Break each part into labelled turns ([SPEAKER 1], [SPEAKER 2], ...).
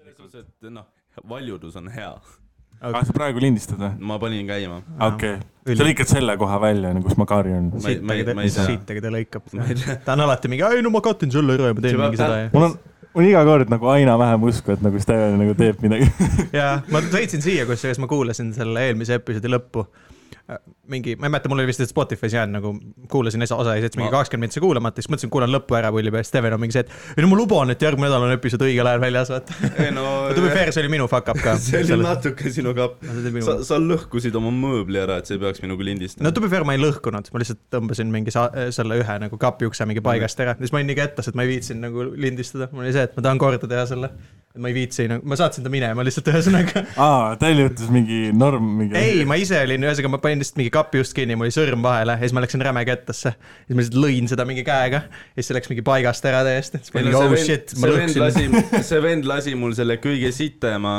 [SPEAKER 1] see , et noh , valjudus on hea .
[SPEAKER 2] aga sa praegu lindistad või ?
[SPEAKER 1] ma panin käima .
[SPEAKER 2] okei , sa lõikad selle koha välja , nagu kus Makari on .
[SPEAKER 1] Ma ei- ma ei- ma ei tea.
[SPEAKER 3] siit , aga ta lõikab
[SPEAKER 1] Ma ei . tea.
[SPEAKER 3] ta on alati mingi , ei no ma katin selle ära ja ma teen
[SPEAKER 1] See
[SPEAKER 3] mingi
[SPEAKER 1] peab
[SPEAKER 3] seda ja .
[SPEAKER 2] mul on , mul on iga kord nagu aina vähem usku , et nagu Steven nagu teeb midagi .
[SPEAKER 3] ja ma sõitsin siia , kusjuures ma kuulasin selle eelmise episoodi lõppu . mingi , ma ei mäleta , mul oli vist Spotify's jäänud nagu , kuulasin esa- osa ja siis mingi
[SPEAKER 1] Ma-
[SPEAKER 3] kakskümmend minutit kuulamata , siis mõtlesin , kuulan lõppu ära pulli peal , Steven on mingi see , et ei no ma luban , et järgmine nädal on episood õigel ajal väljas , vaata .
[SPEAKER 1] ei no
[SPEAKER 3] to be fair , see oli minu fuck up ka .
[SPEAKER 1] see oli natuke sinu kapp . sa
[SPEAKER 3] natuke ,.
[SPEAKER 1] sa lõhkusid oma mööbli ära , et sa ei peaks minuga lindistama
[SPEAKER 3] no . to be fair , ma ei lõhkunud , ma lihtsalt tõmbasin mingi sa- selle ühe nagu kapiukse mingi paigast ära , siis ma olin nii kettas , et ma ei viitsinud nagu lindistada , mul oli see , et ma tahan korda teha selle . ma ei viitsi nagu , ma saatsin ta minema lihtsalt ühesõnaga .
[SPEAKER 2] aa , teil juhtus mingi norm mingi .
[SPEAKER 3] ei , ma ise olin , ühesõnaga ma panin lihtsalt mingi kapi just kinni , mul oli sõrm vahele ja siis ma läksin räme kettasse . siis ma lihtsalt lõin seda mingi käega ja siis see läks mingi paigast ära täiesti . siis ma olin oh shit , ma lõhkusin .
[SPEAKER 1] see vend lasi mul selle kõige sitema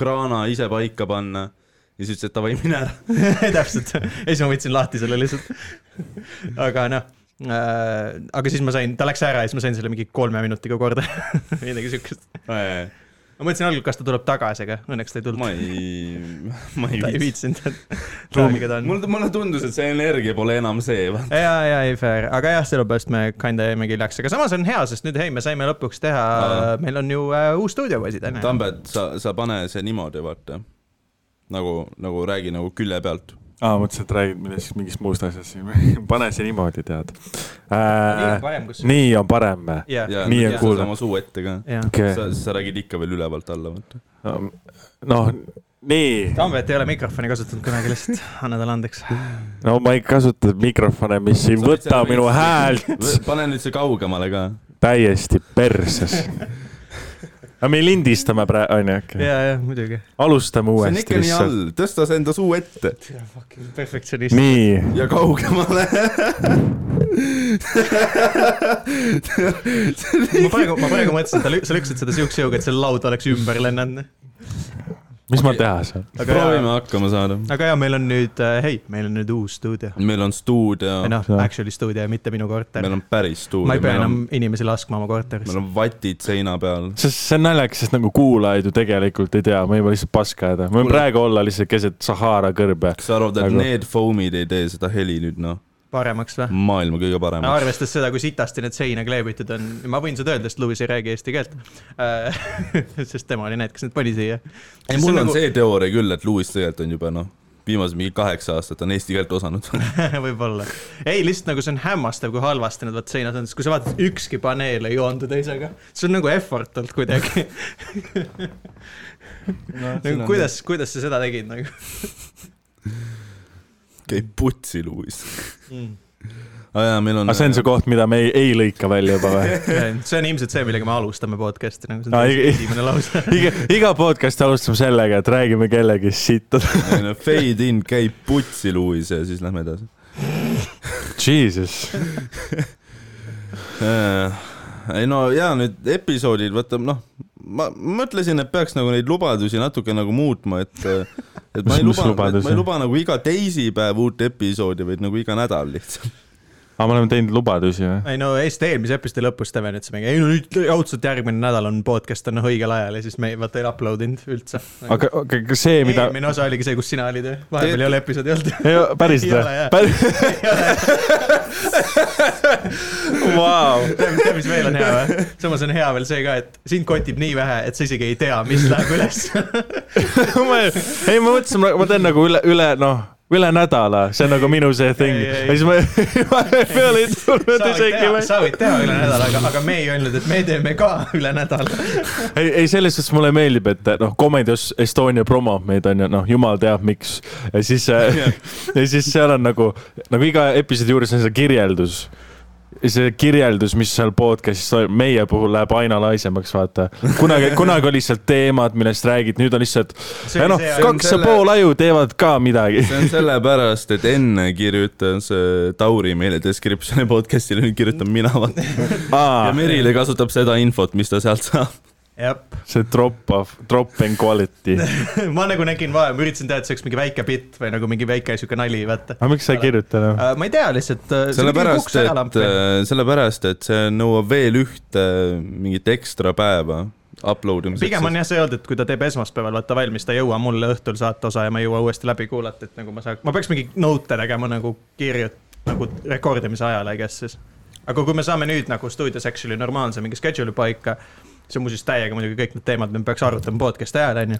[SPEAKER 1] kraana ise paika panna ja siis ütles , et davai , mine ära .
[SPEAKER 3] täpselt , ja siis ma võtsin lahti selle lihtsalt . aga noh äh, aga siis ma sain , ta läks ära ja siis ma sain selle mingi kolme minutiga korda , midagi siukest . ma mõtlesin algul , kas ta tuleb tagasi , aga õnneks ta ei tulnud .
[SPEAKER 1] ma ei , ma
[SPEAKER 3] ta ei
[SPEAKER 1] ei viitsi .
[SPEAKER 3] viitsinud rääkida ta on .
[SPEAKER 1] mulle , mulle tundus , et see energia pole enam see .
[SPEAKER 3] ja , ja ei fair , aga jah , sellepärast me kinda jäimegi hiljaks , aga samas on hea , sest nüüd hei , me saime lõpuks teha
[SPEAKER 1] Aa. ,
[SPEAKER 3] meil on ju äh, uus stuudiopoisid on ju .
[SPEAKER 1] Tambet , sa , sa pane see niimoodi , vaata . nagu , nagu räägi nagu külje pealt .
[SPEAKER 2] aa , mõtlesin , et räägid millestki , mingist muust asjast siin . pane see niimoodi , tead äh, .
[SPEAKER 3] parem , kus .
[SPEAKER 2] nii on parem või ?
[SPEAKER 3] jah ,
[SPEAKER 1] ja
[SPEAKER 2] Nii on
[SPEAKER 1] nüüd
[SPEAKER 2] kuulda.
[SPEAKER 1] sa oma suu ette ka .
[SPEAKER 3] jah .
[SPEAKER 2] okei
[SPEAKER 1] sa , sa räägid ikka veel ülevalt alla , vaata .
[SPEAKER 2] noh , nii ,
[SPEAKER 3] Tambet ei ole mikrofoni kasutanud kunagi lihtsalt , anna talle andeks .
[SPEAKER 2] no ma ei kasuta mikrofone , mis ei
[SPEAKER 1] Sa võid
[SPEAKER 2] võta
[SPEAKER 1] seal
[SPEAKER 2] minu
[SPEAKER 1] mingi-
[SPEAKER 2] häält
[SPEAKER 1] pane nüüd see kaugemale ka .
[SPEAKER 2] täiesti perses . aga me lindistame praegu , onju , okei .
[SPEAKER 3] ja , ja muidugi .
[SPEAKER 2] alustame
[SPEAKER 1] see on ikka
[SPEAKER 2] uuesti
[SPEAKER 1] nii
[SPEAKER 2] lihtsalt .
[SPEAKER 1] all , tõsta see enda suu ette
[SPEAKER 3] perfektsionist .
[SPEAKER 2] nii ,
[SPEAKER 1] ja kaugemale .
[SPEAKER 3] ma praegu , ma praegu mõtlesin , et ta lü- sa lükkasid seda siukse jõuga , et see laud oleks ümber lennanud .
[SPEAKER 2] mis ma teha saan ?
[SPEAKER 3] aga
[SPEAKER 1] proovime
[SPEAKER 3] ja ,
[SPEAKER 1] hakkama saada .
[SPEAKER 3] aga ja meil on nüüd , hei , meil on nüüd uus stuudio .
[SPEAKER 1] meil on stuudio
[SPEAKER 3] või , noh
[SPEAKER 2] Jaa. ,
[SPEAKER 3] actually stuudio ja mitte minu korter
[SPEAKER 1] meil . on päris
[SPEAKER 3] ma ei pea
[SPEAKER 1] stuudio
[SPEAKER 3] enam , inimesi laskma oma korterisse
[SPEAKER 1] meil . on vatid seina peal .
[SPEAKER 2] sest see on naljakas , sest nagu kuulajaid ju tegelikult ei tea , me võime lihtsalt paska ajada , me võime
[SPEAKER 1] Kuule-
[SPEAKER 2] praegu olla lihtsalt keset Sahara kõrbe .
[SPEAKER 1] kas sa arvad , et
[SPEAKER 2] Aga-
[SPEAKER 1] need foam'id ei tee seda heli nüüd noh ,
[SPEAKER 3] paremaks või ?
[SPEAKER 1] maailma kõige paremaks ?
[SPEAKER 3] arvestades seda , kui sitasti need seina kleebitud on , ma võin seda öelda , sest Lewis ei räägi eesti keelt . sest tema oli need , kes need pani siia . nagu-
[SPEAKER 1] ei , mul nagu- on see teooria küll , et Lewis tegelikult on juba noh , viimased mingi kaheksa aastat on eesti keelt osanud .
[SPEAKER 3] võib-olla . ei , lihtsalt nagu see on hämmastav , kui halvasti need vaat seinad on , sest kui sa vaatad , ükski paneel ei joondu teisega . see on nagu effort olnud kuidagi . nagu kuidas , kuidas sa seda tegid nagu
[SPEAKER 1] käib putsi , Lewis .
[SPEAKER 3] mm. ?
[SPEAKER 1] aa jaa , meil on äh,
[SPEAKER 2] aga Ah, see on see koht , mida me ei, ei lõika välja juba või ?
[SPEAKER 3] see on ilmselt see , millega me alustame podcast'i nagu . see
[SPEAKER 2] Aa,
[SPEAKER 3] on
[SPEAKER 2] ei- ei-
[SPEAKER 3] esimene lause .
[SPEAKER 2] iga , iga podcast alustame sellega , et räägime kellegi sitta .
[SPEAKER 1] see... fade in käib putsi , Lewis ja siis lähme edasi .
[SPEAKER 2] Jesus .
[SPEAKER 1] Äh, ei no ja nüüd episoodid , vaata noh , ma mõtlesin , et peaks nagu neid lubadusi natuke nagu muutma , et et ma ei
[SPEAKER 2] Mis- mis
[SPEAKER 1] luba , ma
[SPEAKER 2] lubadusi?
[SPEAKER 1] ei luba nagu iga teisipäev uut episoodi , vaid nagu iga nädal lihtsalt .
[SPEAKER 2] aga me oleme teinud lubadusi või ?
[SPEAKER 3] ei no Eesti eelmise episoodi lõpus Steven ütles mingi , ei no nüüd raudselt järgmine nädal on podcast on õigel ajal ja siis me ei- vaata ei upload inud üldse .
[SPEAKER 2] aga , aga kas see , mida ,
[SPEAKER 3] eelmine osa oligi see , kus sina olid , vahepeal ei ole episoodi olnud .
[SPEAKER 2] ei päriselt
[SPEAKER 3] Ei ole,
[SPEAKER 2] või
[SPEAKER 3] jah. ?
[SPEAKER 2] päris , vau .
[SPEAKER 3] tead , mis veel on hea või ? samas on hea veel see ka , et sind kotib nii vähe , et sa isegi ei tea , mis läheb üles .
[SPEAKER 2] ma ei , ei ma mõtlesin , ma teen nagu üle , üle noh , üle nädala , see on nagu minu see thing .
[SPEAKER 3] Ei, ei,
[SPEAKER 2] ja siis ma , ma peale ei tulnud isegi .
[SPEAKER 3] sa võid teha üle nädala , aga , aga me ei öelnud , et me teeme ka üle nädala .
[SPEAKER 2] ei , ei selles suhtes mulle meeldib , et noh , Comedy Est- Estonia promob meid onju , noh , jumal teab miks . ja siis , ja siis seal on nagu , nagu iga episoodi juures on see kirjeldus . see kirjeldus , mis seal podcast'is toimub , meie puhul läheb aina laisemaks , vaata . kunagi , kunagi oli lihtsalt teemad , millest räägid , nüüd on lihtsalt ,
[SPEAKER 3] See oli
[SPEAKER 2] noh
[SPEAKER 3] see- ,
[SPEAKER 2] kaks ja
[SPEAKER 1] selle-
[SPEAKER 2] pool aju teevad ka midagi .
[SPEAKER 1] see on sellepärast , et enne kirjutas äh, Tauri meile description'i podcast'ile , nüüd kirjutan mina vaata . ja
[SPEAKER 2] aa ,
[SPEAKER 1] Meril ei kasutab seda infot , mis ta sealt saab .
[SPEAKER 3] jah ,
[SPEAKER 2] see drop of , drop in quality .
[SPEAKER 3] ma nagu nägin vaeva , ma üritasin teha , et see oleks mingi väike bitt või nagu mingi väike sihuke nali , vaata .
[SPEAKER 2] aga miks sa ei kirjuta enam ?
[SPEAKER 3] ma ei tea lihtsalt .
[SPEAKER 1] sellepärast , äh, et , sellepärast , et see nõuab veel ühte äh, mingit äh, ekstra päeva upload imiseks .
[SPEAKER 3] pigem on jah see olnud , et kui ta teeb esmaspäeval vaata valmis , ta ei jõua mulle õhtul saata osa ja ma ei jõua uuesti läbi kuulata , et nagu ma saaks , ma peaks mingi note tegema nagu kirjut- , nagu rekordimise ajal , I guess siis . aga kui me saame nüüd nagu stuudios actually normaalse mingi schedule'i paika , see on muuseas täiega muidugi kõik need teemad , me peaks arutama podcast'i ajal , onju .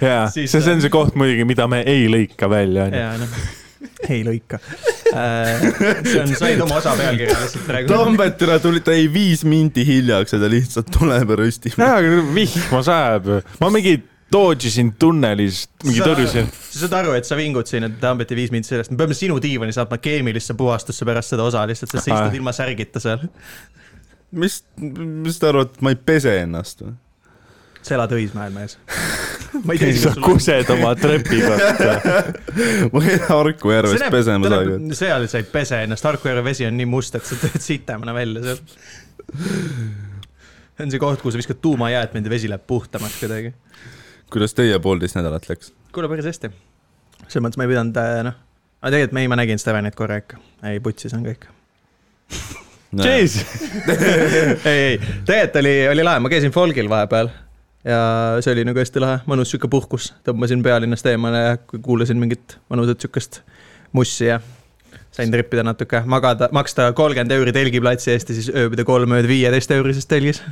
[SPEAKER 2] jaa , see ,
[SPEAKER 3] Siis-
[SPEAKER 2] see on see koht muidugi , mida me ei lõika välja , onju .
[SPEAKER 3] ja noh , ei lõika . see on , said oma osa pealkirja lihtsalt praegu .
[SPEAKER 1] Tambet , tere , tuli , ta jäi viis minti hiljaks ja ta lihtsalt tuleb ja röstib .
[SPEAKER 2] jaa , aga vihma sajab . ma mingi dodžisin tunnelis , mingi
[SPEAKER 3] Sa-
[SPEAKER 2] tõrjusin .
[SPEAKER 3] sa saad aru , et sa vingud siin , et Tambeti viis mind sellest , me peame sinu diivani saatma keemilisse puhastusse pärast seda osa lihtsalt , sest sa
[SPEAKER 2] Aa.
[SPEAKER 3] istud ilma särgita seal .
[SPEAKER 1] mis , mis te arvate , ma ei pese ennast või ?
[SPEAKER 3] sa elad Õismäel , mees . ma ei tea ,
[SPEAKER 2] ei
[SPEAKER 3] kas
[SPEAKER 2] saa
[SPEAKER 3] sul
[SPEAKER 2] kused oma trepikotta .
[SPEAKER 1] ma ei lähe Harku järvest pesema seda aega .
[SPEAKER 3] on . seal sa ei pese ennast , Harku järve vesi on nii must , et sa tuled sitemana välja sealt . see on see koht , kuhu sa viskad tuumajäätmeid ja vesi läheb puhtamaks kuidagi .
[SPEAKER 1] kuidas teie poolteist nädalat läks ?
[SPEAKER 3] kuule , päris hästi . selles mõttes ma ei pidanud , noh , aga tegelikult me ei , ma nägin Stevenit korra ikka . ei , putsis on kõik .
[SPEAKER 2] Jeez ,
[SPEAKER 3] ei , ei , tegelikult oli , oli lahe , ma käisin folgil vahepeal ja see oli nagu hästi lahe , mõnus sihuke puhkus , tõmbasin pealinnast eemale ja kuulasin mingit mõnusat sihukest mussi ja sain trippida natuke , magada , maksta kolmkümmend euri telgiplatsi eest ja siis ööbida kolm ööd viieteist eurises telgis .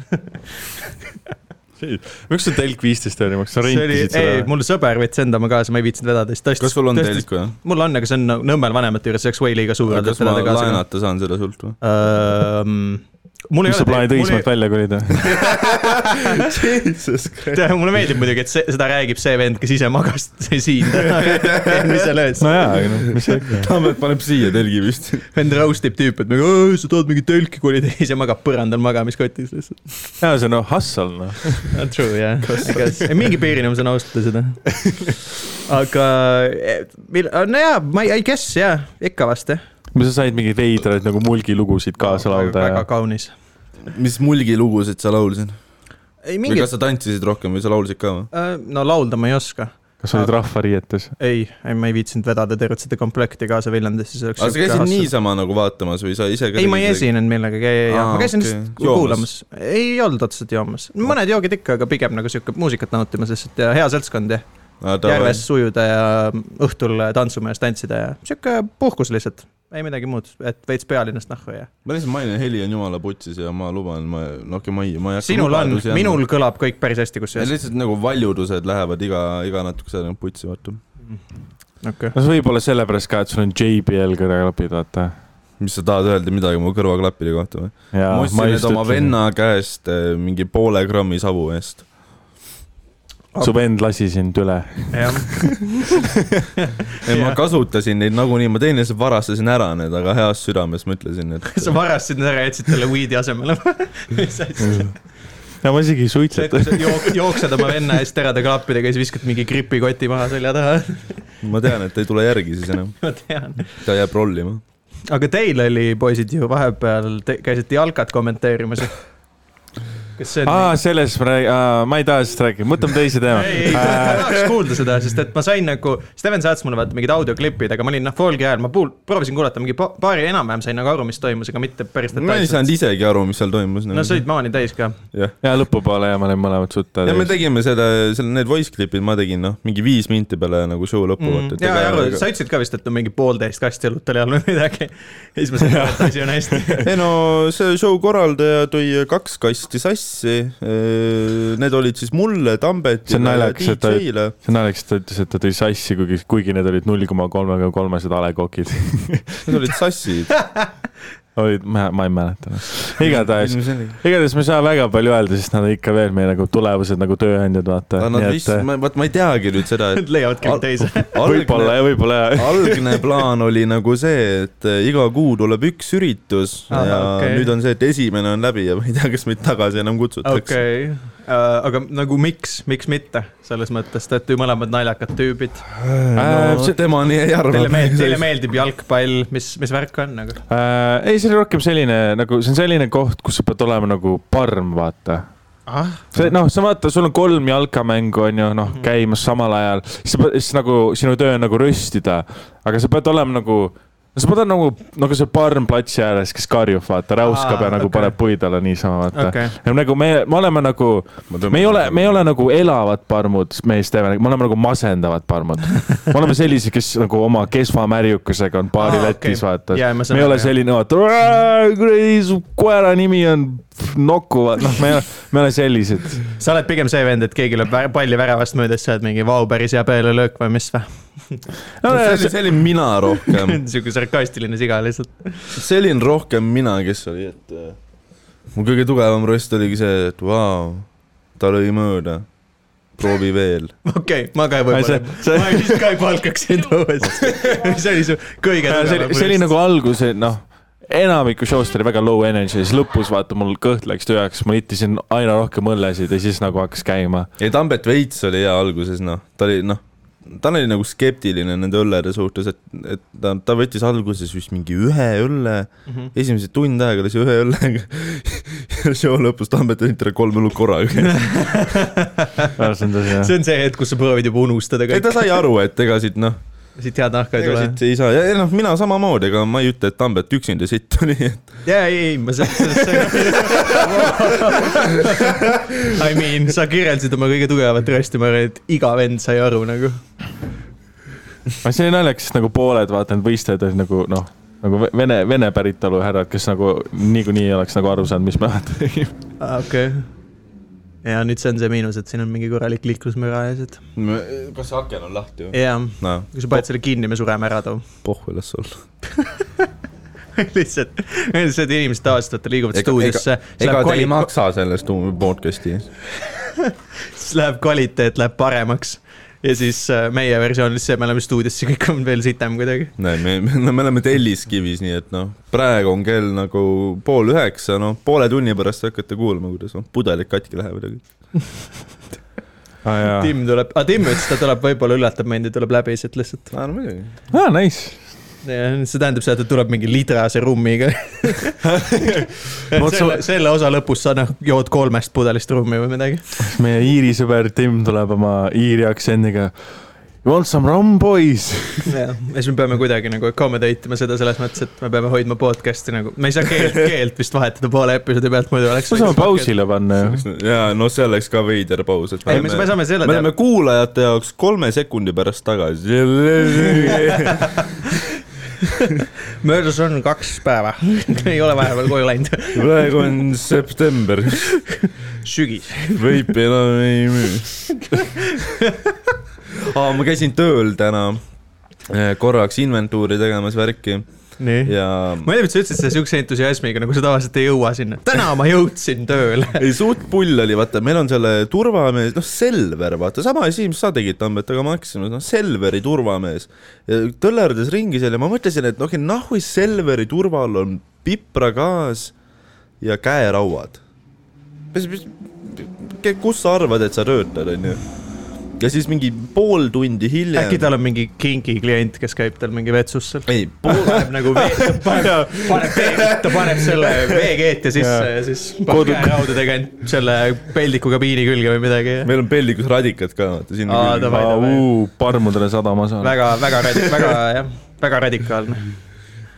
[SPEAKER 2] miks sul telk viisteist euri maksis , sa
[SPEAKER 3] see oli ,
[SPEAKER 2] rentisid
[SPEAKER 3] ei ,
[SPEAKER 2] seda ?
[SPEAKER 3] mul sõber võttis enda oma kaasa , ma ei viitsinud vedada , siis tõstis .
[SPEAKER 1] kas sul on ? telk või ?
[SPEAKER 3] mul on , aga see on Nõmmel vanemate juures , see oleks way liiga suur .
[SPEAKER 1] kas ma laenata saan selle sult või ?
[SPEAKER 3] Ähm, mul ei
[SPEAKER 2] mis sa
[SPEAKER 3] ole
[SPEAKER 2] plaanid , Õismäelt välja kolida ?
[SPEAKER 1] Jesus Christ .
[SPEAKER 3] tead , mulle meeldib muidugi , et see , seda räägib see vend , kes ise magas siin täna eelmisel öösel .
[SPEAKER 2] nojaa , aga noh , mis sa ikka .
[SPEAKER 1] Tambet paneb siia telgi vist .
[SPEAKER 3] vend roast ib tüüpi , et nagu "Öö, sa tood mingit telki , kui ta ise magab põrandal magamiskotis lihtsalt .
[SPEAKER 2] jaa , see on noh , hustle noh .
[SPEAKER 3] Ah, True jah , ei mingi piirini ma saan austada seda . aga eh, mil- , nojah , ma ei , I guess jah , ikka vast jah .
[SPEAKER 2] sa said mingeid veidraid nagu mulgilugusid kaasa laulda ja
[SPEAKER 3] väga . kaunis .
[SPEAKER 1] mis mulgi lugusid sa laulsid ?
[SPEAKER 3] ei
[SPEAKER 1] või
[SPEAKER 3] mingi
[SPEAKER 1] kas , sa tantsisid rohkem või sa laulsid ka või ?
[SPEAKER 3] no laulda ma ei oska .
[SPEAKER 2] kas olid rahvariietes ?
[SPEAKER 3] ei , ei ma ei viitsinud vedada tervet seda komplekti kaasa Viljandisse , see oleks .
[SPEAKER 1] aga Ah, sa käisid niisama nagu vaatamas või sa ise ka
[SPEAKER 3] ei , ma ei . esinenud millegagi , ei , ei ,
[SPEAKER 1] Aa,
[SPEAKER 3] ma käisin
[SPEAKER 1] okei.
[SPEAKER 3] lihtsalt
[SPEAKER 1] Joomas.
[SPEAKER 3] kuulamas , ei olnud otseselt joomas , mõned joogid ikka , aga pigem nagu sihuke muusikat nautimas lihtsalt ja hea seltskond ja
[SPEAKER 1] Ah,
[SPEAKER 3] järves ujuda ja õhtul tantsumees tantsida ja sihuke puhkus lihtsalt , ei midagi muud , et veits pealinnast nahku ja .
[SPEAKER 1] ma lihtsalt mainin , heli on jumala putsis ja ma luban , ma , no okei , ma ei , ma ei hakka .
[SPEAKER 3] sinul on , minul kõlab kõik päris hästi ,
[SPEAKER 1] ja
[SPEAKER 3] kusjuures ,
[SPEAKER 1] lihtsalt nagu valjudused lähevad iga , iga natukese aja tagant putsi , vaata .
[SPEAKER 3] okei .
[SPEAKER 2] no see võib olla sellepärast ka , et sul on JBL kõrvaklapid , vaata .
[SPEAKER 1] mis sa tahad öelda midagi mu kõrvaklappide kohta või ?
[SPEAKER 2] jaa
[SPEAKER 1] ma , ostsin need oma . venna käest eh, mingi poole grammi savu eest .
[SPEAKER 2] su vend lasi sind üle .
[SPEAKER 3] jah ,
[SPEAKER 1] ma
[SPEAKER 3] Jah.
[SPEAKER 1] kasutasin neid nagunii , ma teenlaselt varastasin ära need , aga heas südames ma ütlesin , et
[SPEAKER 3] sa varastasid ära , jätsid talle weed'i asemele . mis asja ,
[SPEAKER 2] ja ma isegi ei
[SPEAKER 3] sa
[SPEAKER 2] suitseta .
[SPEAKER 3] jook- jooksed oma venna eest terade klappidega ja siis viskad mingi gripikoti maha selja taha ,
[SPEAKER 1] ma tean , et ta ei tule järgi siis enam ,
[SPEAKER 3] ma tean .
[SPEAKER 1] ta jääb rollima .
[SPEAKER 3] aga teil oli , poisid ju vahepeal , te käisite jalkat kommenteerimas . kas see on
[SPEAKER 2] aa ,? sellest ma räägin , ma ei taha sellest rääkida , võtame teise
[SPEAKER 3] ei , ei , ma
[SPEAKER 2] teema .
[SPEAKER 3] tahaks kuulda seda , sest et ma sain nagu , Steven saatis mulle vaata mingid audioklippid , aga ma olin noh , folgi ajal ma puul- , proovisin kuulata mingi pa- paari enam-vähem sain nagu aru , mis toimus , aga mitte päris
[SPEAKER 1] ma ei
[SPEAKER 3] detailselt .
[SPEAKER 1] saanud isegi aru , mis seal toimus . nagu
[SPEAKER 3] no sa olid maani täis ka .
[SPEAKER 1] jah ,
[SPEAKER 2] ja lõpupoole ja ma olin
[SPEAKER 1] ja
[SPEAKER 2] mõlemad
[SPEAKER 1] me
[SPEAKER 2] suttad .
[SPEAKER 1] tegime seda , selle , need voice klipid ma tegin , noh , mingi viis minti peale nagu show lõppu
[SPEAKER 3] ja , ja , ja sa ütlesid ka vist , et on mingi poolteist kasti õlut oli all või midagi . ja siis ma sain aru , et asi on hästi .
[SPEAKER 1] ei no see show korraldaja tõi kaks kasti sassi . Need olid siis mulle ,
[SPEAKER 2] See on
[SPEAKER 1] Tambetile ja
[SPEAKER 2] naljakas, et ta-
[SPEAKER 1] DJ-le .
[SPEAKER 2] see on naljakas , et ta ütles , et ta tõi sassi , kuigi , kuigi need olid null koma kolmega kolmesed A Le Coq'id .
[SPEAKER 1] Need olid sassid .
[SPEAKER 2] olid , ma , ma ei mäleta . igatahes , igatahes me ei saa väga palju öelda , sest nad on ikka veel meie nagu tulevased nagu tööandjad , vaata .
[SPEAKER 1] Nad vist ,
[SPEAKER 2] äh,
[SPEAKER 1] vaat ma ei teagi nüüd seda , et
[SPEAKER 3] leiavad kõik teise .
[SPEAKER 1] algne
[SPEAKER 2] võib-olla , ja võib-olla ja .
[SPEAKER 1] algne plaan oli nagu see , et iga kuu tuleb üks üritus
[SPEAKER 3] Ahah,
[SPEAKER 1] ja
[SPEAKER 3] okei.
[SPEAKER 1] nüüd on see , et esimene on läbi ja ma ei tea , kas meid tagasi enam kutsutakse .
[SPEAKER 3] okei okay. , aga nagu miks , miks mitte selles mõttes , te olete ju mõlemad naljakad tüübid .
[SPEAKER 1] Ah, No,
[SPEAKER 2] Äh, see-
[SPEAKER 1] Äh, tema nii ei arva .
[SPEAKER 3] Teile meeldib , teile meeldib jalgpall , mis , mis värk on nagu ?
[SPEAKER 2] äh, ei , see oli rohkem selline nagu , see on selline koht , kus sa pead olema nagu parm , vaata .
[SPEAKER 3] ah ,
[SPEAKER 2] see noh , sa vaata , sul on kolm jalkamängu on ju noh
[SPEAKER 3] Mhm.
[SPEAKER 2] käimas samal ajal , siis sa pead , siis nagu sinu töö on nagu röstida , aga sa pead olema nagu no siis ma tahan nagu , nagu see barn platsi ääres , kes karjub , vaata , räuskab
[SPEAKER 3] Aa,
[SPEAKER 2] ja nagu
[SPEAKER 3] okei.
[SPEAKER 2] paneb puid alla niisama , vaata
[SPEAKER 3] Okei.
[SPEAKER 2] ja nagu me , me oleme nagu , me ei ole , me ei ole nagu elavad parmud , mees Steven , me oleme nagu masendavad parmud . me oleme sellised , kes nagu oma kesva märjukusega on baari
[SPEAKER 3] Aa,
[SPEAKER 2] letis ,
[SPEAKER 3] okei.
[SPEAKER 2] vaata
[SPEAKER 3] Jaa, ma saan
[SPEAKER 2] me ei
[SPEAKER 3] aru,
[SPEAKER 2] ole
[SPEAKER 3] jah.
[SPEAKER 2] selline , vaata , kuradi su koera nimi on Nuku , vaata , noh , me , me ei ole sellised .
[SPEAKER 3] sa oled pigem see vend , et keegi lööb vä- palli väravast mööda , siis sa oled mingi vau , päris hea pealelöök või mis või ?
[SPEAKER 2] No,
[SPEAKER 1] see oli ,
[SPEAKER 2] see-
[SPEAKER 1] see olin mina rohkem ,
[SPEAKER 3] niisugune sarkastiline siga lihtsalt .
[SPEAKER 1] see olin rohkem mina , kes oli , et äh, mu kõige tugevam röst oligi see , et vau , ta lõi mööda , proovi veel .
[SPEAKER 3] okei , ma ka
[SPEAKER 2] Ei,
[SPEAKER 3] võib-olla
[SPEAKER 2] see- , see-
[SPEAKER 3] ma vist ka ei palkaks sind uuesti . see oli su
[SPEAKER 2] see
[SPEAKER 3] kõige tugevam
[SPEAKER 2] oli , see oli nagu algus , noh , enamiku show'st oli väga low energy , siis lõpus vaata mul kõht läks tühjaks , ma ittisin aina rohkem õllesid ja siis nagu hakkas käima .
[SPEAKER 1] ei , Tambet Veits oli hea alguses , noh , ta oli , noh , ta oli nagu skeptiline nende õllede suhtes , et , et ta , ta võttis alguses vist mingi ühe õlle
[SPEAKER 3] Mhm.
[SPEAKER 1] esimese tund aega lasi ühe õllega ja show lõpus Tambet tõi talle kolm õlut korraga .
[SPEAKER 2] see on tõsi , jah .
[SPEAKER 3] see on see hetk , kus sa proovid juba unustada
[SPEAKER 1] ei , ta
[SPEAKER 3] kõik ,
[SPEAKER 1] sai aru , et ega siit noh ,
[SPEAKER 3] siit head nahka ei
[SPEAKER 1] ega
[SPEAKER 3] tule .
[SPEAKER 1] siit ei saa ja ja noh , mina samamoodi , ega ma ei ütle , et Tambet üksinda sitt oli , et
[SPEAKER 3] jaa , ei , ei , ma selles suhtes . I mean , sa kirjeldasid oma kõige tugevat rösti , ma arvan , et iga vend sai aru nagu .
[SPEAKER 2] see oli naljakas , sest nagu pooled vaata need võistlejad olid nagu noh , nagu ve- vene , vene päritolu härrad , kes nagu niikuinii ei oleks nagu aru saanud , mis me vaata tegime .
[SPEAKER 3] Ah, okei okay. . ja nüüd see on see miinus , et siin on mingi korralik liiklusmüra ees , et
[SPEAKER 1] kas see aken on lahti või ?
[SPEAKER 3] jah ,
[SPEAKER 1] noh ,
[SPEAKER 3] kui sa paned selle kinni , me sureme ära too .
[SPEAKER 1] pohhu las olla .
[SPEAKER 3] lihtsalt , lihtsalt inimesed tavaliselt vaata liiguvad
[SPEAKER 1] Ega-
[SPEAKER 3] stuudiosse , siis
[SPEAKER 1] ega
[SPEAKER 3] läheb
[SPEAKER 1] ta ei
[SPEAKER 3] kvali- ,
[SPEAKER 1] maksa sellest podcast'i eest .
[SPEAKER 3] siis läheb kvaliteet läheb paremaks . ja siis äh, meie versioon on lihtsalt see , et me oleme stuudios , siis kõik on veel sitem kuidagi .
[SPEAKER 1] näe , me , me , no me oleme Telliskivis , nii et noh , praegu on kell nagu pool üheksa , noh poole tunni pärast hakkate kuulma , kuidas noh, pudelid katki lähevad ja kõik . Ah.
[SPEAKER 2] aa ,
[SPEAKER 3] Tim tuleb , aa Tim ütles , ta tuleb , võib-olla üllatab mind ja tuleb läbi siit lihtsalt .
[SPEAKER 1] aa , no muidugi .
[SPEAKER 2] nice .
[SPEAKER 3] Ja see tähendab seda , et ta tuleb mingi lidrase rummiga
[SPEAKER 2] Vot sa-
[SPEAKER 3] selle , selle osa lõpus sa noh , jood kolmest pudelist rummi või midagi .
[SPEAKER 2] meie Iiri sõber Tim tuleb oma Iiri aktsendiga . You want some rum , boys ?
[SPEAKER 3] ja siis me peame kuidagi nagu accommodate ima seda selles mõttes , et me peame hoidma podcast'i nagu , me ei saa keelt , keelt vist vahetada poole episoodi pealt , muidu oleks .
[SPEAKER 2] me saame . pausile panna ju .
[SPEAKER 1] ja no see oleks ka veider paus , et
[SPEAKER 3] ei , me me saame selle
[SPEAKER 1] me oleme
[SPEAKER 3] teha .
[SPEAKER 1] kuulajate jaoks kolme sekundi pärast tagasi .
[SPEAKER 3] möödas on kaks päeva , ei ole vahepeal koju läinud ,
[SPEAKER 1] praegu on september ,
[SPEAKER 3] sügis .
[SPEAKER 1] veipi enam ei müü . aa , ma käisin tööl täna eh, korraks inventuuri tegemas värki
[SPEAKER 3] nii .
[SPEAKER 1] ja
[SPEAKER 3] ma ei tea , miks sa ütlesid seda siukse entusiasmiga , nagu sa tavaliselt ei jõua sinna . täna ma jõudsin tööle .
[SPEAKER 1] ei suht pull oli , vaata , meil on selle turvamees , noh , Selver , vaata , sama asi , mis sa tegid , Tambet , aga Maximus , noh , Selveri turvamees . tõllerdas ringi seal ja ma mõtlesin , et okei okay, , nahui Selveri turval on pipragaas ja käerauad . mis , mis , kus sa arvad , et sa töötad , onju ? ja siis mingi pool tundi hiljem
[SPEAKER 3] äkki tal on mingi kingi klient , kes käib tal mingi vetsus seal ?
[SPEAKER 1] ei , pool ,
[SPEAKER 3] paneb nagu vee , paneb , paneb vee , ta paneb selle veekeetja sisse
[SPEAKER 2] Jaa.
[SPEAKER 3] ja siis paneb käerauda tegelikult selle peldiku kabiini külge või midagi .
[SPEAKER 1] meil on peldikus radikad ka , vaata sinna
[SPEAKER 3] Aa,
[SPEAKER 1] külge
[SPEAKER 3] davai. .
[SPEAKER 2] parmudele sadama saanud .
[SPEAKER 3] väga , väga , väga jah , väga radikaalne .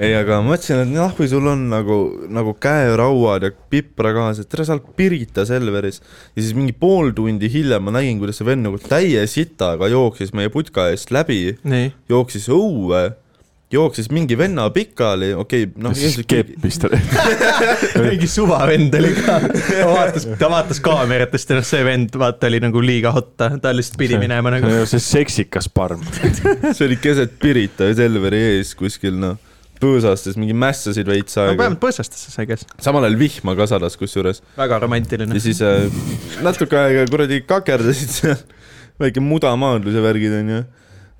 [SPEAKER 1] ei , aga ma mõtlesin , et noh , kui sul on nagu , nagu käerauad ja pipra kaasas , tere , sa oled Pirita Selveris . ja siis mingi pool tundi hiljem ma nägin , kuidas see vend nagu täie sitaga jooksis meie putka eest läbi ,
[SPEAKER 3] nii .
[SPEAKER 1] jooksis õue , jooksis mingi venna pikali , okei okay, , noh .
[SPEAKER 2] siis keppis ta .
[SPEAKER 3] mingi suvavend oli ka , ta vaatas , ta vaatas kaameratest ja noh , see vend vaata oli nagu liiga hot , ta ta lihtsalt pidi minema nagu .
[SPEAKER 2] see seksikas parm .
[SPEAKER 1] see oli keset Pirita ja Selveri ees kuskil noh , põõsastes mingi mässasid veits
[SPEAKER 3] no
[SPEAKER 1] aega
[SPEAKER 3] vähemalt . põõsastesse sai käes ,
[SPEAKER 1] samal ajal vihma ka sadas kusjuures .
[SPEAKER 3] väga romantiline
[SPEAKER 1] ja . siis äh, natuke aega kuradi kakerdasid seal , väike mudamaadlus ja värgid onju .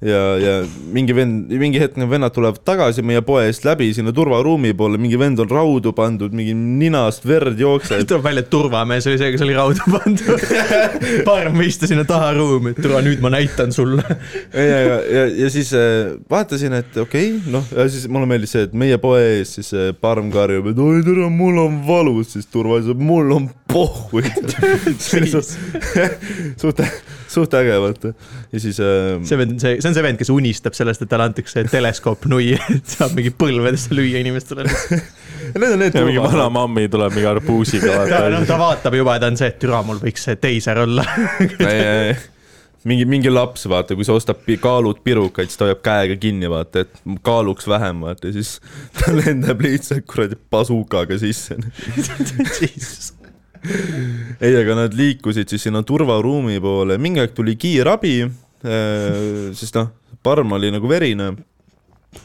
[SPEAKER 1] ja , ja mingi vend , mingi hetk need vennad tulevad tagasi meie poe eest läbi sinna turvaruumi poole , mingi vend on raudu pandud , mingi ninast verd jookseb .
[SPEAKER 3] tuleb välja , et turvamees oli see , kes oli rauda pandud . parm istus sinna taha ruumi , et tule nüüd ma näitan sulle .
[SPEAKER 1] ja , ja , ja , ja siis äh, vaatasin , et okei okay, , noh , ja siis mulle meeldis see , et meie poe ees siis äh, parm karjub , et oi tere , mul on valus , siis turvaliselt , mul on pohhu . see oli suht , suht , suht äge , vaata . ja siis äh,
[SPEAKER 3] see vend on see , see on on see vend , kes unistab sellest , et talle antakse teleskoop nui , et saab mingi põlvedesse lüüa inimestele .
[SPEAKER 1] Need on need
[SPEAKER 2] ja mingi vana
[SPEAKER 1] turvavöörid .
[SPEAKER 2] mammi tuleb mingi arbuusiga
[SPEAKER 3] noh , ta
[SPEAKER 2] vaata .
[SPEAKER 3] vaatab juba , ta on see , et türa , mul võiks see teiser olla .
[SPEAKER 1] mingi , mingi laps , vaata , kui sa ostab pi- kaalud pirukaid , siis ta hoiab käega kinni , vaata , et kaaluks vähem , vaata , ja siis ta lendab lihtsalt kuradi basukaga sisse . ei , aga nad liikusid siis sinna turvaruumi poole , mingi aeg tuli kiirabi , sest noh , parm oli nagu verine .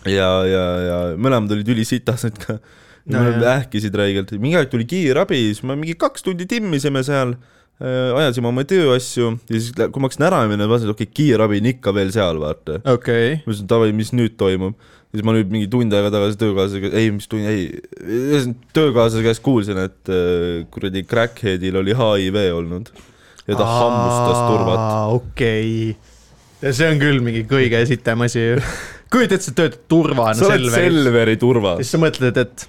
[SPEAKER 1] ja , ja , ja mõlemad olid ülisitased ka .
[SPEAKER 3] No
[SPEAKER 1] No,
[SPEAKER 3] jah.
[SPEAKER 1] ähkisid räigelt , mingi aeg tuli kiirabi , siis me mingi kaks tundi timmisime seal , ajasime oma tööasju ja siis , kui ma hakkasin ära minema , vaatasin , et okei okay, , kiirabi on ikka veel seal , vaata .
[SPEAKER 3] okei .
[SPEAKER 1] ma ütlesin , davai , mis nüüd toimub . siis ma nüüd mingi tund aega tagasi töökaaslasega , ei , mis tund , ei , ühesõnaga töökaaslase käest kuulsin , et äh, kuradi crackhead'il oli HIV olnud ja ta hammustas turvat .
[SPEAKER 3] okei . see on küll mingi kõige esitem asi ju . kujuta ette , sa töötad turvana
[SPEAKER 1] sa oled
[SPEAKER 3] Selveris .
[SPEAKER 1] Selveri turvas
[SPEAKER 3] siis . sa mõtled , et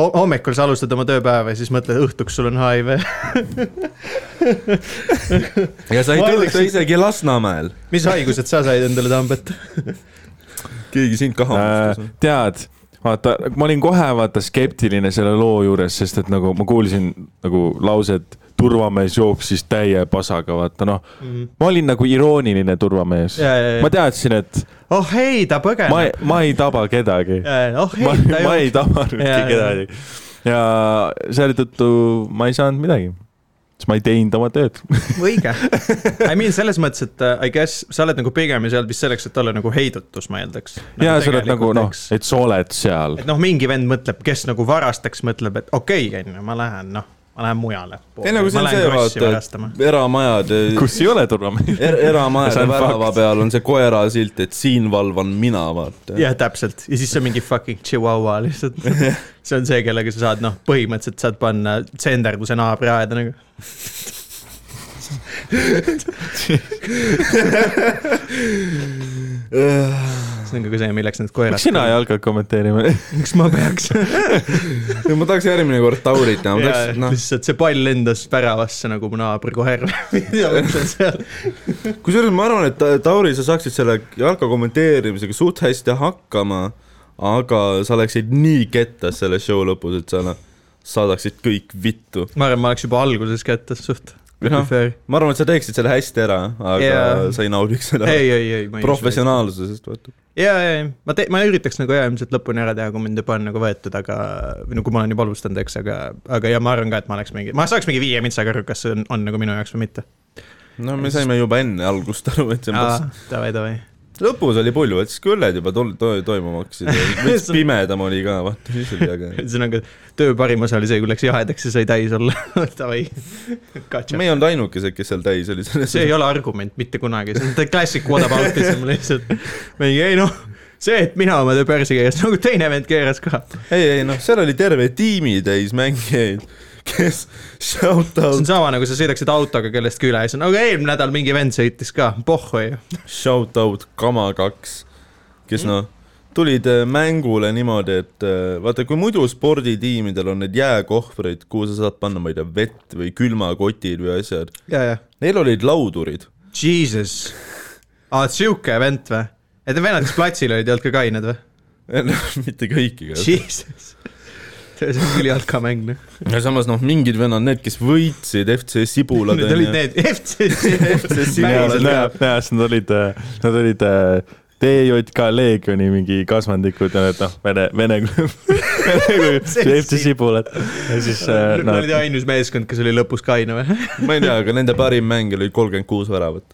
[SPEAKER 3] ho- hommikul sa alustad oma tööpäeva ja siis mõtled , õhtuks sul on HIV .
[SPEAKER 1] ja sa ei
[SPEAKER 3] Ma
[SPEAKER 1] tööta
[SPEAKER 3] arvasin-
[SPEAKER 1] isegi Lasnamäel .
[SPEAKER 3] mis haigused sa said endale tambet ?
[SPEAKER 1] keegi sind
[SPEAKER 3] Äh,
[SPEAKER 1] ka hammustas või ?
[SPEAKER 2] äh, tead , vaata , ma olin kohe vaata skeptiline selle loo juures , sest et nagu ma kuulsin nagu lauset , turvamees jooksis täie pasaga , vaata noh . ma olin nagu irooniline turvamees .
[SPEAKER 3] Ja, ja, ja.
[SPEAKER 2] ma teadsin , et
[SPEAKER 3] oh ei , ta
[SPEAKER 2] ma
[SPEAKER 3] põgeneb . ,
[SPEAKER 2] ma ei taba kedagi .
[SPEAKER 3] oh
[SPEAKER 2] ma
[SPEAKER 3] ei , ta ,
[SPEAKER 2] ma ei
[SPEAKER 3] jookseb .
[SPEAKER 2] tabanudki
[SPEAKER 3] Ja, ja.
[SPEAKER 2] kedagi . ja selle tõttu ma ei saanud midagi , sest ma ei teinud oma tööd .
[SPEAKER 3] õige . I mean selles mõttes , et äh, I guess sa oled nagu pigem ju seal vist selleks , et olla nagu heidutus , ma eeldaks nagu
[SPEAKER 2] ja sa oled nagu
[SPEAKER 3] tegelikult,
[SPEAKER 2] noh
[SPEAKER 3] eks. ,
[SPEAKER 2] et sa oled seal
[SPEAKER 3] et . noh , mingi vend mõtleb , kes nagu varastaks , mõtleb , et okei okay, , onju , ma lähen , noh , ma lähen mujale .
[SPEAKER 1] ei no kui see on see , vaata , et eramajad ,
[SPEAKER 2] kus ei ole turvamees .
[SPEAKER 1] er,
[SPEAKER 2] See
[SPEAKER 1] eramajade
[SPEAKER 2] on
[SPEAKER 1] värava
[SPEAKER 2] fakt.
[SPEAKER 1] peal on see koera silt , et siin valvan mina , vaata .
[SPEAKER 3] jah , täpselt ja siis see on mingi fucking chihuahua lihtsalt . see on see , kellega sa saad , noh , põhimõtteliselt saad panna tsenderduse naabriaeda nagu . see on ka see , milleks need koerad .
[SPEAKER 2] miks sina ei hakka kommenteerima ?
[SPEAKER 3] miks ma peaks ?
[SPEAKER 1] ma tahaks järgmine kord Taurit näha , ma tahaks , noh ,
[SPEAKER 3] lihtsalt see pall lendas väravasse nagu mu naabri koer .
[SPEAKER 1] kusjuures ma arvan , et Ta- Tauri , sa saaksid selle jalka kommenteerimisega suht hästi hakkama , aga sa oleksid nii kettas selle show lõpus , et sa noh , saadaksid kõik vittu .
[SPEAKER 3] ma arvan , ma oleks juba alguses kättes suht .
[SPEAKER 1] Jah. ma arvan , et sa teeksid selle hästi ära , aga yeah.
[SPEAKER 3] Jaa.
[SPEAKER 1] sa ei naudiks seda
[SPEAKER 3] ei , ei , ei , ma ei ..
[SPEAKER 1] professionaalsusest , vaata .
[SPEAKER 3] ja , ja , ja ma te- , ma üritaks nagu jah , ilmselt lõpuni ära teha , kui mind juba on nagu võetud , aga , või no kui ma olen juba alustanud , eks , aga , aga ja ma arvan ka , et ma oleks mingi , ma saaks mingi viie mitsaga aru , kas see on, on nagu minu jaoks või mitte .
[SPEAKER 1] no me saime juba enne algust aru , et see on pass .
[SPEAKER 3] Davai , davai .
[SPEAKER 1] lõpus oli pulju , et siis kui õlled juba tol- to, , toimuma hakkasid , veits pimedam oli ka , vaata , siis oli äge .
[SPEAKER 3] ühesõnaga , nagu, töö parim osa oli see , kui läks jahedaks ja sai täis olla . davai , gotcha .
[SPEAKER 1] me ei olnud ainukesed , kes seal täis oli selles
[SPEAKER 3] see ei ole argument mitte kunagi , see on the classic what about ism lihtsalt . mingi ei noh , see , et mina oma töö persi keeras , nagu teine vend keeras ka .
[SPEAKER 1] ei , ei noh , seal oli terve tiimi täis mängijaid , kes shout
[SPEAKER 3] see on
[SPEAKER 1] out ,
[SPEAKER 3] sama nagu sa sõidaksid autoga kellestki üle ja siis on , aga eelmine nädal mingi vend sõitis ka , pohhu ju .
[SPEAKER 1] shout out Kama kaks , kes noh , tulid äh, mängule niimoodi , et äh, vaata , kui muidu sporditiimidel on need jääkohvrid , kuhu sa saad panna , ma ei tea , vett või külmakotid või asjad ,
[SPEAKER 3] ja , ja .
[SPEAKER 1] neil olid laudurid .
[SPEAKER 3] Jesus , aa , Ah, sihuke event või ? et need vennad , kes platsil olid , ei olnud ka kained või ?
[SPEAKER 1] mitte kõik igatahes .
[SPEAKER 3] Jesus , see on küll jalka mäng noh .
[SPEAKER 1] ja samas noh , mingid vennad , need , kes võitsid FC Sibulad
[SPEAKER 3] Need olid need FC , FC
[SPEAKER 1] Sinjad,
[SPEAKER 2] näe
[SPEAKER 3] sinjad .,
[SPEAKER 2] näe , nad olid , nad olid äh, TJK Leegioni mingi kasvandikud ja need noh , vene , vene , vene , FC Sibulad ja siis äh,
[SPEAKER 3] Nad
[SPEAKER 2] nad
[SPEAKER 3] olid , ainus meeskond , kes oli lõpus kaine või ?
[SPEAKER 1] ma ei tea , aga nende parim mäng oli kolmkümmend kuus väravat .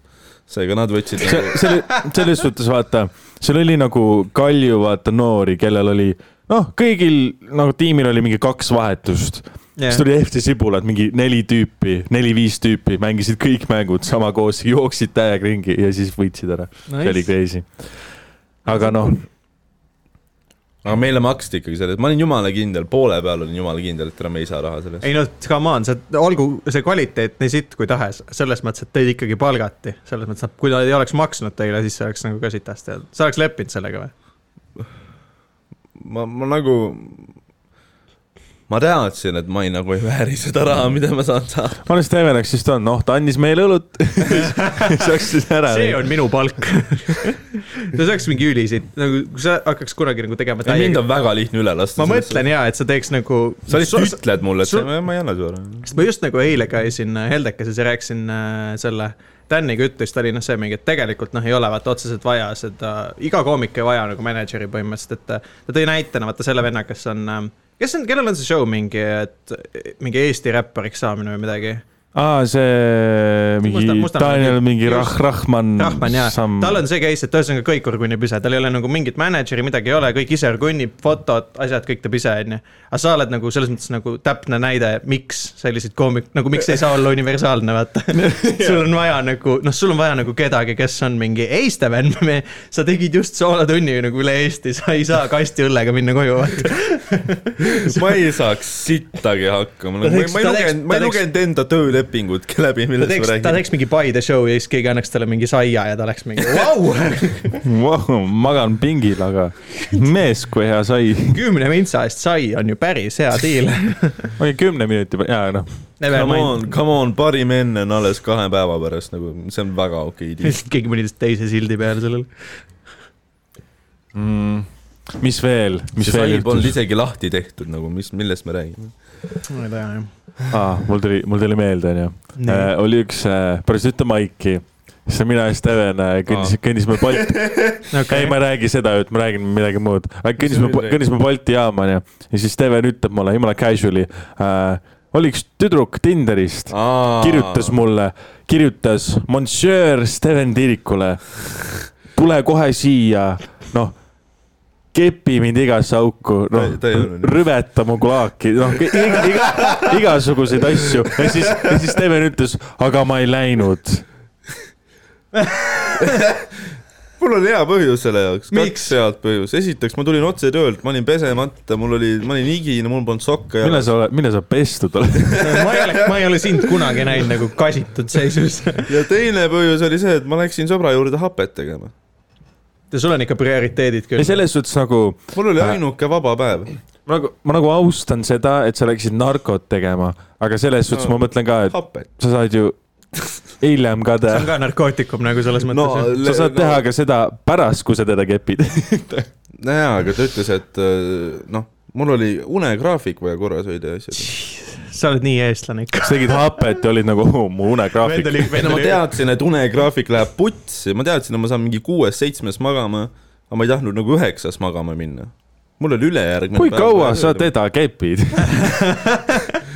[SPEAKER 1] seega nad võtsid nagu
[SPEAKER 2] selle , selles suhtes vaata , seal oli nagu Kalju vaata noori , kellel oli noh , kõigil nagu tiimil oli mingi kaks vahetust siis tuli FC Sibulad , mingi neli tüüpi , neli-viis tüüpi mängisid kõik mängud sama koos , jooksid täiega ringi ja siis võitsid ära . see oli crazy . aga noh ,
[SPEAKER 1] aga meile maksti ikkagi selle , ma olin jumala kindel , poole peal olin jumala kindel , et ära me ei saa raha selle eest .
[SPEAKER 3] ei noh , come on , sa , olgu see kvaliteet nii sitt kui tahes , selles mõttes , et teid ikkagi palgati , selles mõttes , et kui nad ei oleks maksnud teile , siis see oleks nagu ka sitast ja sa oleks leppinud sellega või ?
[SPEAKER 1] ma , ma nagu , ma teadsin , et ma ei nagu ei vääri seda raha , mida ma saan saada .
[SPEAKER 2] ma olen Steven , eks siis ta on , noh , ta andis meile õlut , siis hakkasid ära .
[SPEAKER 3] see on minu palk . see oleks mingi ülisid , nagu kui sa hakkaks kunagi nagu tegema
[SPEAKER 1] mind on väga lihtne üle lasta .
[SPEAKER 3] ma mõtlen ja , et sa teeks nagu .
[SPEAKER 1] sa lihtsalt ütled mulle , et
[SPEAKER 3] sul-
[SPEAKER 1] sa- ma ei anna sulle .
[SPEAKER 3] sest ma just nagu eile käisin äh, Heldekeses ja rääkisin äh, selle , Daniga ütles , ta oli noh , see mingi , et tegelikult noh , ei ole vaata otseselt vaja seda , iga koomik ei vaja nagu mänedžeri põhimõtteliselt , et äh, ta tõi näitena vaata selle venna , kes on , kes on , kellel on see show mingi , et äh, mingi Eesti räppariks saamine või midagi .
[SPEAKER 2] aa , see
[SPEAKER 3] Musta-
[SPEAKER 2] mingi
[SPEAKER 3] musta-
[SPEAKER 2] Daniel mingi
[SPEAKER 3] just.
[SPEAKER 2] Rah- ,
[SPEAKER 1] Mm,
[SPEAKER 2] Rahman .
[SPEAKER 3] Rahman jaa , tal on see case , et ühesõnaga kõik orgunnib ise , tal ei ole nagu mingit mänedžeri , midagi ei ole , kõik ise orgunnib , fotod , asjad , kõik teeb ise , onju . aga sa oled nagu selles mõttes nagu täpne näide , miks selliseid koomik- , nagu miks ei saa olla universaalne , vaata . sul on vaja nagu , noh , sul on vaja nagu kedagi , kes on mingi , ei Steven , me , sa tegid just soolatunni nagu üle Eesti , sa ei saa kasti õllega minna koju , vaata .
[SPEAKER 1] ma ei saaks sittagi hakkama ,
[SPEAKER 3] Ta
[SPEAKER 1] ma ei
[SPEAKER 3] teeks-
[SPEAKER 1] ma ei
[SPEAKER 3] ta teeks-
[SPEAKER 1] lugenud , ma
[SPEAKER 3] ta
[SPEAKER 1] ei
[SPEAKER 3] teeks-
[SPEAKER 1] lugenud enda töölepingut läbi ,
[SPEAKER 3] ta
[SPEAKER 1] millest
[SPEAKER 3] teeks
[SPEAKER 1] ma ,
[SPEAKER 3] ta
[SPEAKER 1] räägin .
[SPEAKER 3] teeks mingi by the show ja siis keegi annaks talle mingi saia ja ta oleks mingi , vau ,
[SPEAKER 2] wow, . magan pingil , aga mees , kui hea sai .
[SPEAKER 3] kümne vintsa eest sai on ju päris hea deal .
[SPEAKER 2] oli kümne minuti peal , jaa noh .
[SPEAKER 1] Come on , come on , parim enne on alles kahe päeva pärast nagu , see on väga okei okay, .
[SPEAKER 3] lihtsalt keegi pani lihtsalt teise sildi peale sellele .
[SPEAKER 2] Mm, mis veel , mis
[SPEAKER 1] see
[SPEAKER 2] veel
[SPEAKER 1] sai polnud
[SPEAKER 2] juhtus ?
[SPEAKER 1] isegi lahti tehtud nagu , mis , millest me räägime .
[SPEAKER 3] ma ei tea jah .
[SPEAKER 2] aa , mul tuli , mul tuli meelde , onju .
[SPEAKER 3] Nii.
[SPEAKER 2] oli üks äh, päris ühte maiki , siis mina ja Steven äh, kõndis , kõndisime Balti , ei , ma ei räägi seda , et ma räägin midagi muud . kõndisime
[SPEAKER 1] Mis sa nüüd , räägid?
[SPEAKER 2] kõndisime Balti jaama onju ja siis Steven ütleb mulle , jumala casual'i äh, , oli üks tüdruk Tinderist , kirjutas . mulle , kirjutas Monsieur Steven Tiirikule , tule kohe siia , noh , kepi mind igasse auku , noh
[SPEAKER 1] Ta- ta ei öelnud. ,
[SPEAKER 2] rüveta mu kulaaki , noh , iga, iga, igasuguseid asju ja siis , ja siis Steven ütles , aga ma ei läinud .
[SPEAKER 1] mul on hea põhjus selle jaoks ,
[SPEAKER 3] Miks?
[SPEAKER 1] kaks head põhjust . esiteks , ma tulin otse töölt , ma olin pesemata , mul oli , ma olin higine , mul polnud sokke
[SPEAKER 2] mille
[SPEAKER 1] ja
[SPEAKER 2] sa oled , mille sa pestud oled ?
[SPEAKER 3] ma ei ole , ma ei ole sind kunagi näinud nagu kasitud seisus .
[SPEAKER 1] ja teine põhjus oli see , et ma läksin sõbra juurde hapet tegema .
[SPEAKER 3] sul on ikka prioriteedid
[SPEAKER 2] ei ,
[SPEAKER 3] küll .
[SPEAKER 2] selles suhtes nagu
[SPEAKER 1] mul oli ainuke vaba päev .
[SPEAKER 2] nagu , ma nagu austan seda , et sa läksid narkot tegema , aga selles suhtes ma mõtlen ka , et
[SPEAKER 1] hapet .
[SPEAKER 2] sa saad ju hiljem ka
[SPEAKER 3] see
[SPEAKER 2] teha
[SPEAKER 3] on . ka narkootikum nagu selles mõttes
[SPEAKER 1] No,
[SPEAKER 3] no, .
[SPEAKER 2] sa saad teha ka seda pärast , kui sa teda kepid .
[SPEAKER 1] jaa , aga ta ütles , et äh, noh , mul oli unegraafik vaja korras hoida ja asjad .
[SPEAKER 3] sa oled nii eestlane ikka .
[SPEAKER 2] sa tegid hapet ja olid nagu oh, mu unegraafik .
[SPEAKER 1] ei no ma
[SPEAKER 3] tean .
[SPEAKER 1] teadsin , et unegraafik läheb putsi , ma teadsin , et ma saan mingi kuues-seitsmes magama , aga ma ei tahtnud nagu üheksas magama minna . mul oli ülejärgmine
[SPEAKER 2] kui kaua sa ? teda kepid ?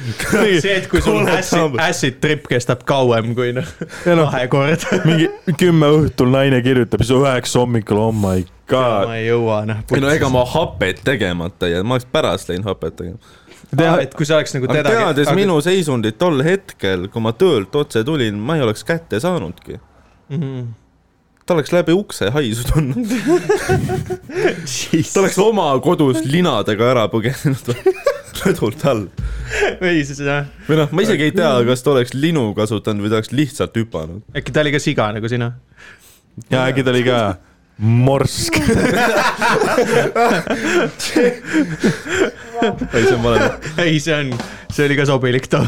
[SPEAKER 3] see , et kui sul
[SPEAKER 1] Kuule,
[SPEAKER 3] acid ,
[SPEAKER 1] Tambet.
[SPEAKER 3] acid trip kestab kauem kui noh , kahekord .
[SPEAKER 2] mingi kümme õhtul naine kirjutab , siis üheksa hommikul , oh my god .
[SPEAKER 3] ma ei jõua noh .
[SPEAKER 1] ei no ega ma hapet tegemata ei jäänud , ma oleks pärast läinud hapet tegema .
[SPEAKER 3] tea , et kui sa oleks nagu
[SPEAKER 1] aga
[SPEAKER 3] teda .
[SPEAKER 1] teades aga... minu seisundit tol hetkel , kui ma töölt otse tulin , ma ei oleks kätte saanudki . ta oleks läbi ukse haisu tulnud , ta oleks oma kodus linadega ära põgenenud rõdult all .
[SPEAKER 3] ei , siis jah ,
[SPEAKER 1] või noh , ma isegi ei tea , kas ta oleks linu kasutanud või ta oleks lihtsalt hüpanud .
[SPEAKER 3] äkki ta oli ka siga nagu sina .
[SPEAKER 2] ja äkki ta oli ka morsk .
[SPEAKER 1] ei , see on vale .
[SPEAKER 3] ei , see on , see oli ka sobilik too .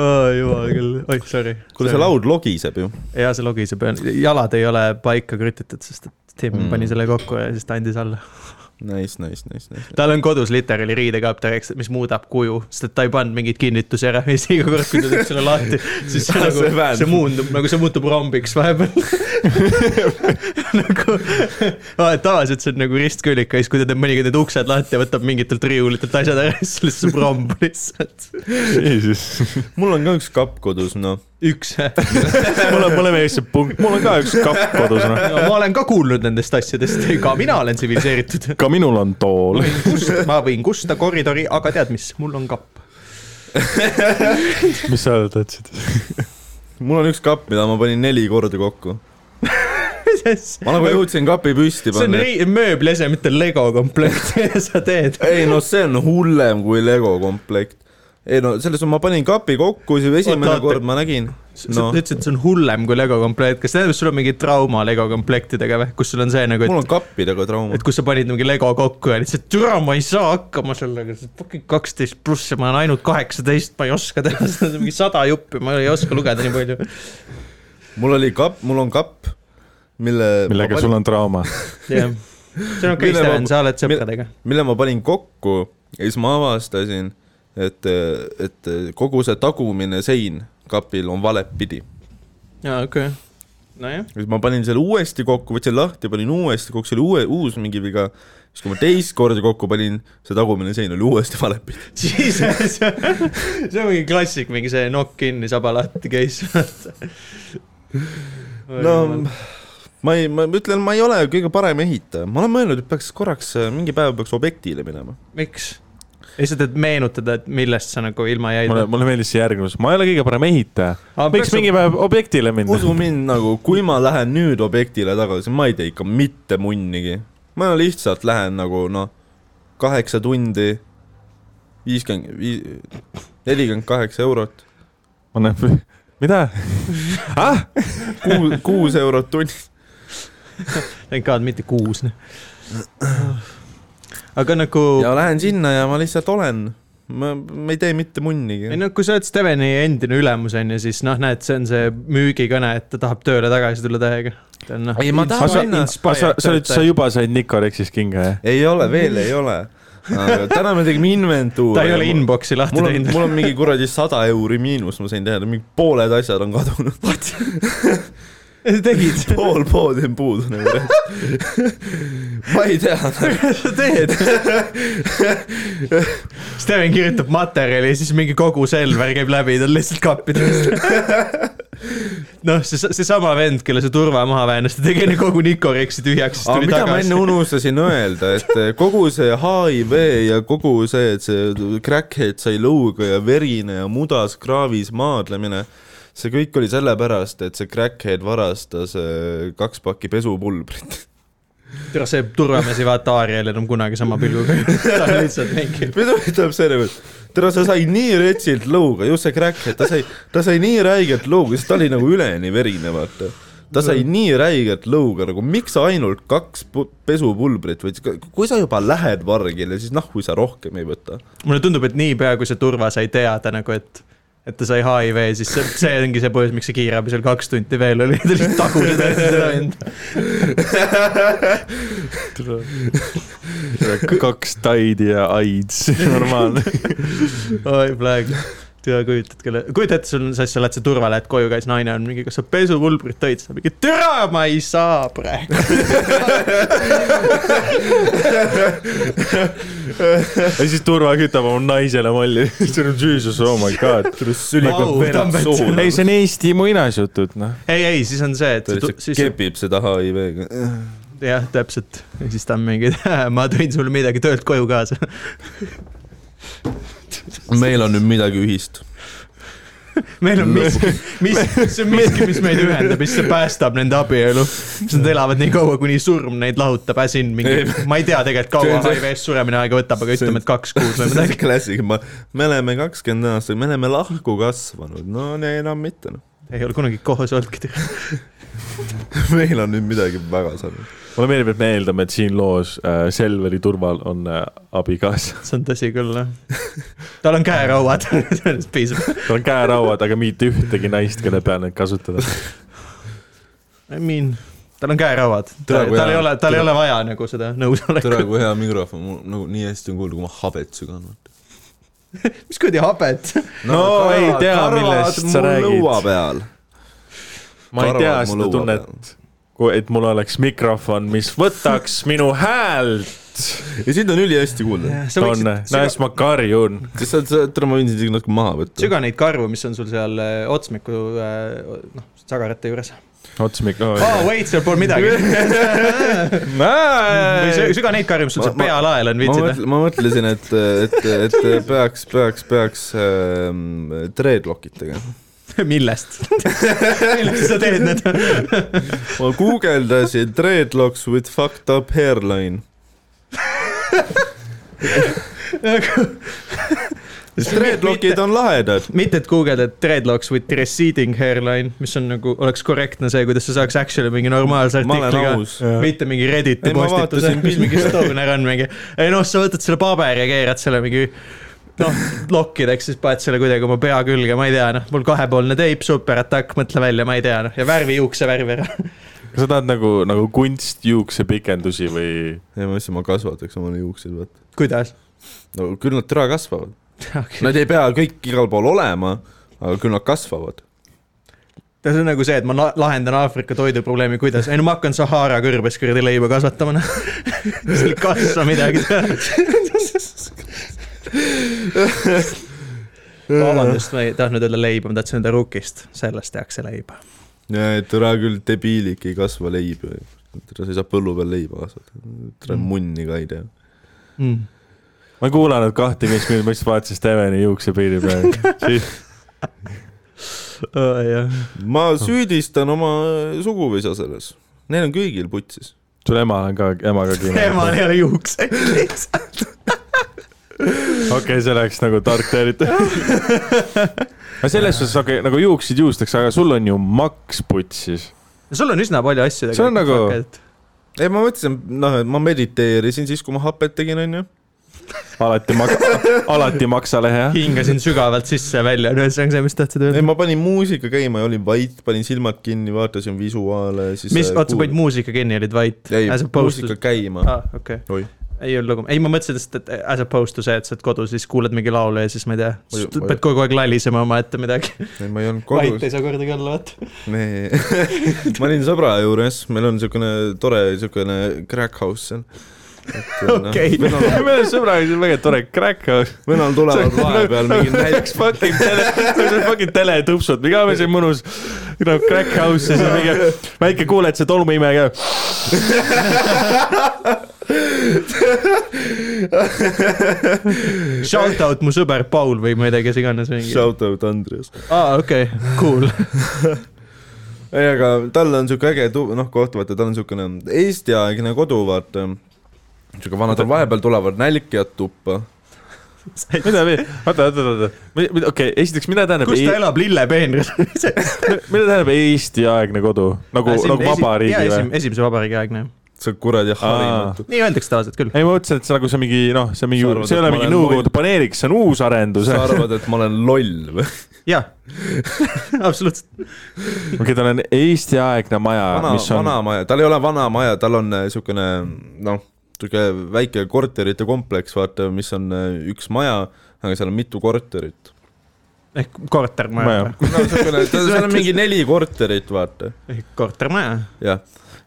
[SPEAKER 3] Oh, jumal küll , oih , sorry .
[SPEAKER 1] kuule , see . laud logiseb ju .
[SPEAKER 3] jaa , see logiseb , jalad ei ole paika krütitud , sest et Tim mm.
[SPEAKER 1] Mm.
[SPEAKER 3] pani selle kokku ja siis ta andis alla .
[SPEAKER 1] Nice , nice , nice , nice .
[SPEAKER 3] tal on kodus literaali riidekaapter , eks , mis muudab kuju , sest et ta ei pannud mingeid kinnitusi ära ja siis iga kord , kui ta teeb selle lahti , siis see
[SPEAKER 1] Ah,
[SPEAKER 3] nagu
[SPEAKER 1] see , väänd.
[SPEAKER 3] see muundub , nagu see muutub rombiks vahepeal . nagu , tavaliselt see on nagu ristküllik ja siis , kui ta teeb mõnikord need uksed lahti ja võtab mingitelt riiulitelt asjad ära , siis lihtsalt see romb lihtsalt .
[SPEAKER 1] mul on ka üks kapp kodus , noh .
[SPEAKER 3] üks .
[SPEAKER 2] mul on , mul on ees see punkt , mul on ka üks kapp kodus , noh .
[SPEAKER 3] ma olen ka kuulnud nendest asjadest , ka mina olen tsiviliseeritud .
[SPEAKER 2] ka minul on tool .
[SPEAKER 3] kust , ma võin kusta koridori , aga tead mis , mul on kapp .
[SPEAKER 2] mis sa tahtsid ?
[SPEAKER 1] mul on üks kapp , mida ma panin neli korda kokku . ma nagu
[SPEAKER 3] see
[SPEAKER 1] jõudsin kapi püsti
[SPEAKER 3] on
[SPEAKER 1] panna .
[SPEAKER 3] rei- mööbliese , mitte Lego komplekt , mida sa teed .
[SPEAKER 1] ei noh , see on hullem kui Lego komplekt . ei no selles mõttes ma panin kapi kokku , siis esimene
[SPEAKER 3] oota.
[SPEAKER 1] kord ma nägin .
[SPEAKER 3] sa
[SPEAKER 1] noh ,
[SPEAKER 3] ütlesid , et see on hullem kui Lego komplekt , kas tähendab , sul on mingi trauma Lego komplektidega või , kus sul on see nagu ,
[SPEAKER 1] mul
[SPEAKER 3] et ,
[SPEAKER 1] on kappidega trauma
[SPEAKER 3] et . kus sa panid mingi Lego kokku ja lihtsalt türa , ma ei saa hakkama sellega , fucking kaksteist pluss ja ma olen ainult kaheksateist , ma ei oska teha seda , mingi sada juppi , ma ei oska lugeda nii palju .
[SPEAKER 1] mul oli kapp , mul on kapp , mille .
[SPEAKER 2] millega sul on trauma .
[SPEAKER 3] jah , see on okei ,
[SPEAKER 1] Mille ma-
[SPEAKER 3] Sten , sa oled
[SPEAKER 1] mille-
[SPEAKER 3] sõpradega .
[SPEAKER 1] mille ma panin kokku ja siis ma avastasin , et , et kogu see tagumine sein kapil on valepidi .
[SPEAKER 3] jaa , okei okay. . nojah ,
[SPEAKER 1] siis ma panin selle uuesti kokku , võtsin lahti , panin uuesti kokku , see oli uue , uus mingi viga . siis kui ma teist korda kokku panin , see tagumine sein oli uuesti valepidi .
[SPEAKER 3] siis see on mingi klassik , mingi see nokk kinni , saba lahti case .
[SPEAKER 1] no ma ei , ma ütlen , ma ei ole kõige parem ehitaja , ma olen mõelnud , et peaks korraks , mingi päev peaks objektile minema .
[SPEAKER 3] miks ? lihtsalt , et meenutada , et millest sa nagu ilma jäid .
[SPEAKER 2] mulle , mulle meeldis see järgmine , ma ei ole kõige parem ehitaja .
[SPEAKER 3] Aga
[SPEAKER 2] võiks
[SPEAKER 3] peaks-
[SPEAKER 2] mingi päev objektile minna .
[SPEAKER 1] usu mind , nagu kui ma lähen nüüd objektile tagasi , ma ei tee ikka mitte munnigi . ma lihtsalt lähen nagu noh , kaheksa tundi , viiskümmend , viis , nelikümmend kaheksa eurot ,
[SPEAKER 2] ma näen , mida ? ah ,
[SPEAKER 1] kuus , kuus eurot tunnis .
[SPEAKER 3] Thank God , mitte kuus . aga nagu ,
[SPEAKER 1] ja lähen sinna ja ma lihtsalt olen . ma , ma ei tee mitte munnigi
[SPEAKER 3] ei . no kui sa oled Steveni endine ülemus on ju , siis noh , näed , see on see müügikõne , et ta tahab tööle tagasi tulla täiega . ta on noh .
[SPEAKER 1] Ei, ma tahan minna.
[SPEAKER 2] sa , sa , sa nüüd , sa juba said Nicorexis kinga , jah ?
[SPEAKER 1] ei ole , veel ei ole . täna me tegime inventuuri .
[SPEAKER 3] ta ei ole inbox'i lahti
[SPEAKER 1] mul on ,
[SPEAKER 3] teinud .
[SPEAKER 1] mul on mingi kuradi sada euri miinus , ma sain teada , mingi pooled asjad on kadunud .
[SPEAKER 3] tegid ,
[SPEAKER 1] pool poodi on puudu nagu . ma ei tea ,
[SPEAKER 3] sa teed . Steven kirjutab materjali ja siis mingi kogu Selver käib läbi , ta on lihtsalt kappides . noh , see , seesama vend , kelle see turva maha väänas , ta tegi enne kogu Nicorexi tühjaks , siis
[SPEAKER 1] aga
[SPEAKER 3] tuli
[SPEAKER 1] mida ma
[SPEAKER 3] tagasi
[SPEAKER 1] enne . unustasin öelda , et eh, kogu see HIV ja kogu see , et see crackhead sai lõuga ja verine ja mudas kraavis maadlemine , see kõik oli sellepärast , et see crackhead varastas äh, kaks pakki pesupulbrit .
[SPEAKER 3] tere , see turvamees ei vaata Aariel enam kunagi sama pilguga . ta on lihtsalt mingi ,
[SPEAKER 1] mind huvitab see nagu , et tere , sa sai nii retsilt lõuga , just see crackhead , ta sai , ta sai nii räigelt lõuga , sest ta oli nagu üleni verine , vaata . ta sai nii räigelt lõuga nagu , miks sa ainult kaks pu- pesupulbrit võtsid , kui sa juba lähed vargile , siis noh , kui sa rohkem ei võta .
[SPEAKER 3] mulle tundub , et niipea kui see turva sai teada nagu , et , et ta sai HIV , siis see, see ongi see põhjus , miks see kiirabi seal kaks tundi veel oli , ta lihtsalt tagus seda enda .
[SPEAKER 2] kaks taidi ja aids , normaalne .
[SPEAKER 3] oi , praegu , tea kujutad kelle , kujuta ette , sul on see , sa lähed see turva , lähed koju , käis naine on mingi , kas sa pesupulbrit tõid , siis ta mingi , türa , ma ei saa praegu .
[SPEAKER 2] ja siis Turva kütab oma naisele molli . Jesus , oh my god . Nagu
[SPEAKER 3] Au, verad tambet. suhu.
[SPEAKER 2] ei , see on Eesti muinasjutud , noh .
[SPEAKER 3] ei , ei , siis on see , et
[SPEAKER 1] ta
[SPEAKER 3] see tu-
[SPEAKER 1] lihtsalt
[SPEAKER 3] siis
[SPEAKER 1] kepib seda HIV-ga .
[SPEAKER 3] jah , täpselt , siis ta on mingi , ma tõin sulle midagi töölt koju kaasa .
[SPEAKER 1] meil on nüüd midagi ühist .
[SPEAKER 3] meil on miski , mis , see on miski , mis meid ühendab , mis päästab nende abielu . siis nad elavad nii kaua , kuni surm neid lahutab , äsin mingi , ma ei tea tegelikult
[SPEAKER 1] See
[SPEAKER 3] kaua
[SPEAKER 1] on see-
[SPEAKER 3] HIV-st suremine aega võtab , aga
[SPEAKER 1] see on-
[SPEAKER 3] ütleme , et kaks kuud või midagi .
[SPEAKER 1] klassik , ma , me oleme kakskümmend aastat , me oleme lahku kasvanud , no nee, enam mitte noh .
[SPEAKER 3] ei ole kunagi kohus olnudki .
[SPEAKER 1] meil on nüüd midagi väga sarnast .
[SPEAKER 2] mulle meeldib , et me eeldame , et siin loos äh, Selveri Turval on äh, abikaasa .
[SPEAKER 3] see on tõsi küll , jah . tal on käerauad , sellest piisab .
[SPEAKER 2] tal on käerauad , aga mitte ühtegi naist , kelle peal neid kasutada .
[SPEAKER 3] I mean , tal on käerauad .
[SPEAKER 1] Tere,
[SPEAKER 3] tal
[SPEAKER 1] kui
[SPEAKER 3] tal ei
[SPEAKER 1] hea.
[SPEAKER 3] ole , tal ei
[SPEAKER 1] Tere.
[SPEAKER 3] ole vaja nagu seda nõusolekut .
[SPEAKER 1] kui hea mikrofon , mul nagu nii hästi on kuulda , kui ma habet sügan .
[SPEAKER 3] mis kuradi habet ?
[SPEAKER 2] No ei tea, millest sa räägid.
[SPEAKER 1] lõua peal .
[SPEAKER 2] ma ei
[SPEAKER 1] Karvad
[SPEAKER 2] tea
[SPEAKER 1] mu
[SPEAKER 2] seda
[SPEAKER 1] lõua
[SPEAKER 2] tunnet , et mul oleks mikrofon , mis võtaks minu häält .
[SPEAKER 1] ja sind on ülihästi kuulda .
[SPEAKER 3] sa
[SPEAKER 2] on , näes
[SPEAKER 3] võiksid ,
[SPEAKER 2] ma karjun .
[SPEAKER 1] kas sa , sa , tere , ma võin sind isegi natuke maha võtta .
[SPEAKER 3] süga neid karvu , mis on sul seal äh, otsmiku äh, noh , sagarate juures .
[SPEAKER 2] otsmik
[SPEAKER 3] aa , wait , seal pole midagi . või
[SPEAKER 2] oh, .
[SPEAKER 3] süga neid karju , mis sul
[SPEAKER 1] Ma-
[SPEAKER 3] seal
[SPEAKER 1] ma-
[SPEAKER 3] pealael on ,
[SPEAKER 1] ma
[SPEAKER 3] viitsid või ?
[SPEAKER 1] mõtlen , ma mõtlesin , et , et , et peaks , peaks , peaks ähm, dreadlock'id tegema .
[SPEAKER 3] millest ? millest sa teed need ?
[SPEAKER 1] ma guugeldasin dreadlocks with fucked up hairline . Dreadlockid on lahedad .
[SPEAKER 3] mitte , et guugeldad dreadlocks with receding hairline , mis on nagu , oleks korrektne see , kuidas sa saaks actually mingi normaalse
[SPEAKER 1] ma olen
[SPEAKER 3] artikliga .
[SPEAKER 1] aus .
[SPEAKER 3] mitte mingi Redditi
[SPEAKER 1] Ei, ma
[SPEAKER 3] postituse
[SPEAKER 1] vaatasin ,
[SPEAKER 3] mis
[SPEAKER 1] pildi-
[SPEAKER 3] mingi Stoner on nagu mingi . ei noh , sa võtad selle paberi ja keerad selle mingi noh , lokkideks , siis paned selle kuidagi oma pea külge , ma ei tea , noh , mul kahepoolne teip , superatakk , mõtle välja , ma ei tea , noh , ja värvi juukse värvi ära .
[SPEAKER 2] kas sa tahad nagu , nagu kunstjuuksepikendusi või ?
[SPEAKER 1] ei , ma mõtlesin , ma kasvataks omale juukseid , vaata .
[SPEAKER 3] kuidas ?
[SPEAKER 1] no küll nad täna kasvavad . Nad ei pea kõik igal pool olema , aga küll nad kasvavad .
[SPEAKER 3] see on nagu see , et ma la- lahendan Aafrika toiduprobleemi , kuidas , ei no ma hakkan Sahara kõrbes kuradi leiba kasvatama , noh . seal ei kasva midagi . vabandust , ma ei tahtnud öelda leiba , ma tahtsin öelda rukist , sellest tehakse leiba .
[SPEAKER 1] täna küll debiilik ei kasva leiba . sa ei saa põllu peal leiba kasvatada . ta on
[SPEAKER 3] Mm.
[SPEAKER 1] munni ka ei tea .
[SPEAKER 3] Mm.
[SPEAKER 2] ma ei kuulanud kahtekümmet minutit , ma lihtsalt vaatasin Steveni juuksepiiri peale .
[SPEAKER 3] Oh, jah ,
[SPEAKER 1] ma süüdistan oma suguvõsa selles . Neil on kõigil putsis .
[SPEAKER 2] sul ema on ka , ema ka
[SPEAKER 3] temal
[SPEAKER 2] kinni .
[SPEAKER 3] ei ole juukseid .
[SPEAKER 2] okei , see läks nagu tark teeritus . aga selles suhtes , okei okay, , nagu juuksed juustaks , aga sul on ju maks putsis .
[SPEAKER 3] sul on üsna palju asju .
[SPEAKER 2] See on nagu-
[SPEAKER 1] ei , ma mõtlesin , noh , et ma mediteerisin siis , kui ma hapet tegin , onju .
[SPEAKER 2] alati maks- , alati maksalehe , jah ?
[SPEAKER 3] hingasin sügavalt sisse ja välja , no see on see , mis tahtsid
[SPEAKER 1] ei ,
[SPEAKER 3] öelda .
[SPEAKER 1] ma panin muusika käima ja olin vait , panin silmad kinni , vaatasin visuaale , siis .
[SPEAKER 3] mis , oota , sa panid Äh, muusika kinni , olid vait ?
[SPEAKER 1] ei , muusika käima .
[SPEAKER 3] aa , Ah, okei
[SPEAKER 1] Oi.
[SPEAKER 3] okay. . ei olnud lugu , ei ma mõtlesin lihtsalt , et as opposed to see , et sa oled kodus , siis kuulad mingi laulu ja siis ma ei tea ,
[SPEAKER 1] Muidu- muidu.
[SPEAKER 3] pead kogu aeg lalisema omaette midagi .
[SPEAKER 1] ei , ma ei olnud
[SPEAKER 3] vait
[SPEAKER 1] kodus .
[SPEAKER 3] ei saa kordagi olla , vaata .
[SPEAKER 1] Nee. ma olin sõbra juures , meil on siukene tore siukene crack house seal . noh,
[SPEAKER 3] Okei.
[SPEAKER 1] Venemaal
[SPEAKER 2] meil on sõbraga siin väga tore crack house .
[SPEAKER 1] Venemaal tulevad vahepeal
[SPEAKER 2] nagu-
[SPEAKER 1] mingi
[SPEAKER 2] näiteks fucking tele , fucking teletupsud , me käime siin mõnus no, crack house'is ja mingi väike kuuled see tolmuimeja .
[SPEAKER 3] Shout out mu sõber Paul või ma ei tea , kes iganes mingi .
[SPEAKER 1] shout out Andres .
[SPEAKER 3] aa , okei , cool .
[SPEAKER 1] ei , aga tal on siuke äge tu- , noh koht , vaata , tal on siukene eestiaegne kodu , vaata . siuke vana , tal vahepeal tulevad nälkijad tuppa .
[SPEAKER 2] mida , oota , oota , oota , okei okay, , esiteks , mida tähendab ,
[SPEAKER 3] kus ta elab , lillepeenris ?
[SPEAKER 2] mida tähendab Eesti-aegne kodu nagu , nagu vabariigi või ?
[SPEAKER 3] esimese vabariigi aegne .
[SPEAKER 1] sa kuradi harimatu .
[SPEAKER 3] nii öeldakse tavaliselt küll .
[SPEAKER 2] ei , ma mõtlesin , et see nagu see mingi noh , see mingi
[SPEAKER 1] Sa arvad, ,
[SPEAKER 2] see ei
[SPEAKER 1] et
[SPEAKER 2] ole
[SPEAKER 1] ma
[SPEAKER 2] mingi
[SPEAKER 1] olen
[SPEAKER 2] Nõukogude
[SPEAKER 1] loll?
[SPEAKER 2] paneelik , see on uus arendus .
[SPEAKER 1] sa arvad , et ma olen loll või ?
[SPEAKER 3] jaa , absoluutselt .
[SPEAKER 2] okei , tal on Eesti-aegne maja ,
[SPEAKER 1] vana ,
[SPEAKER 2] mis on
[SPEAKER 1] vana maja , tal ei ole vana maja , tal on äh, siukene noh , siuke väike korterite kompleks , vaata , mis on äh, üks maja , aga seal on mitu korterit .
[SPEAKER 3] ehk Eh,
[SPEAKER 2] maja .
[SPEAKER 3] kortermaja
[SPEAKER 1] no siukene , seal on mingi neli korterit , vaata ,
[SPEAKER 3] või ? Eh, kortermaja .
[SPEAKER 1] jah .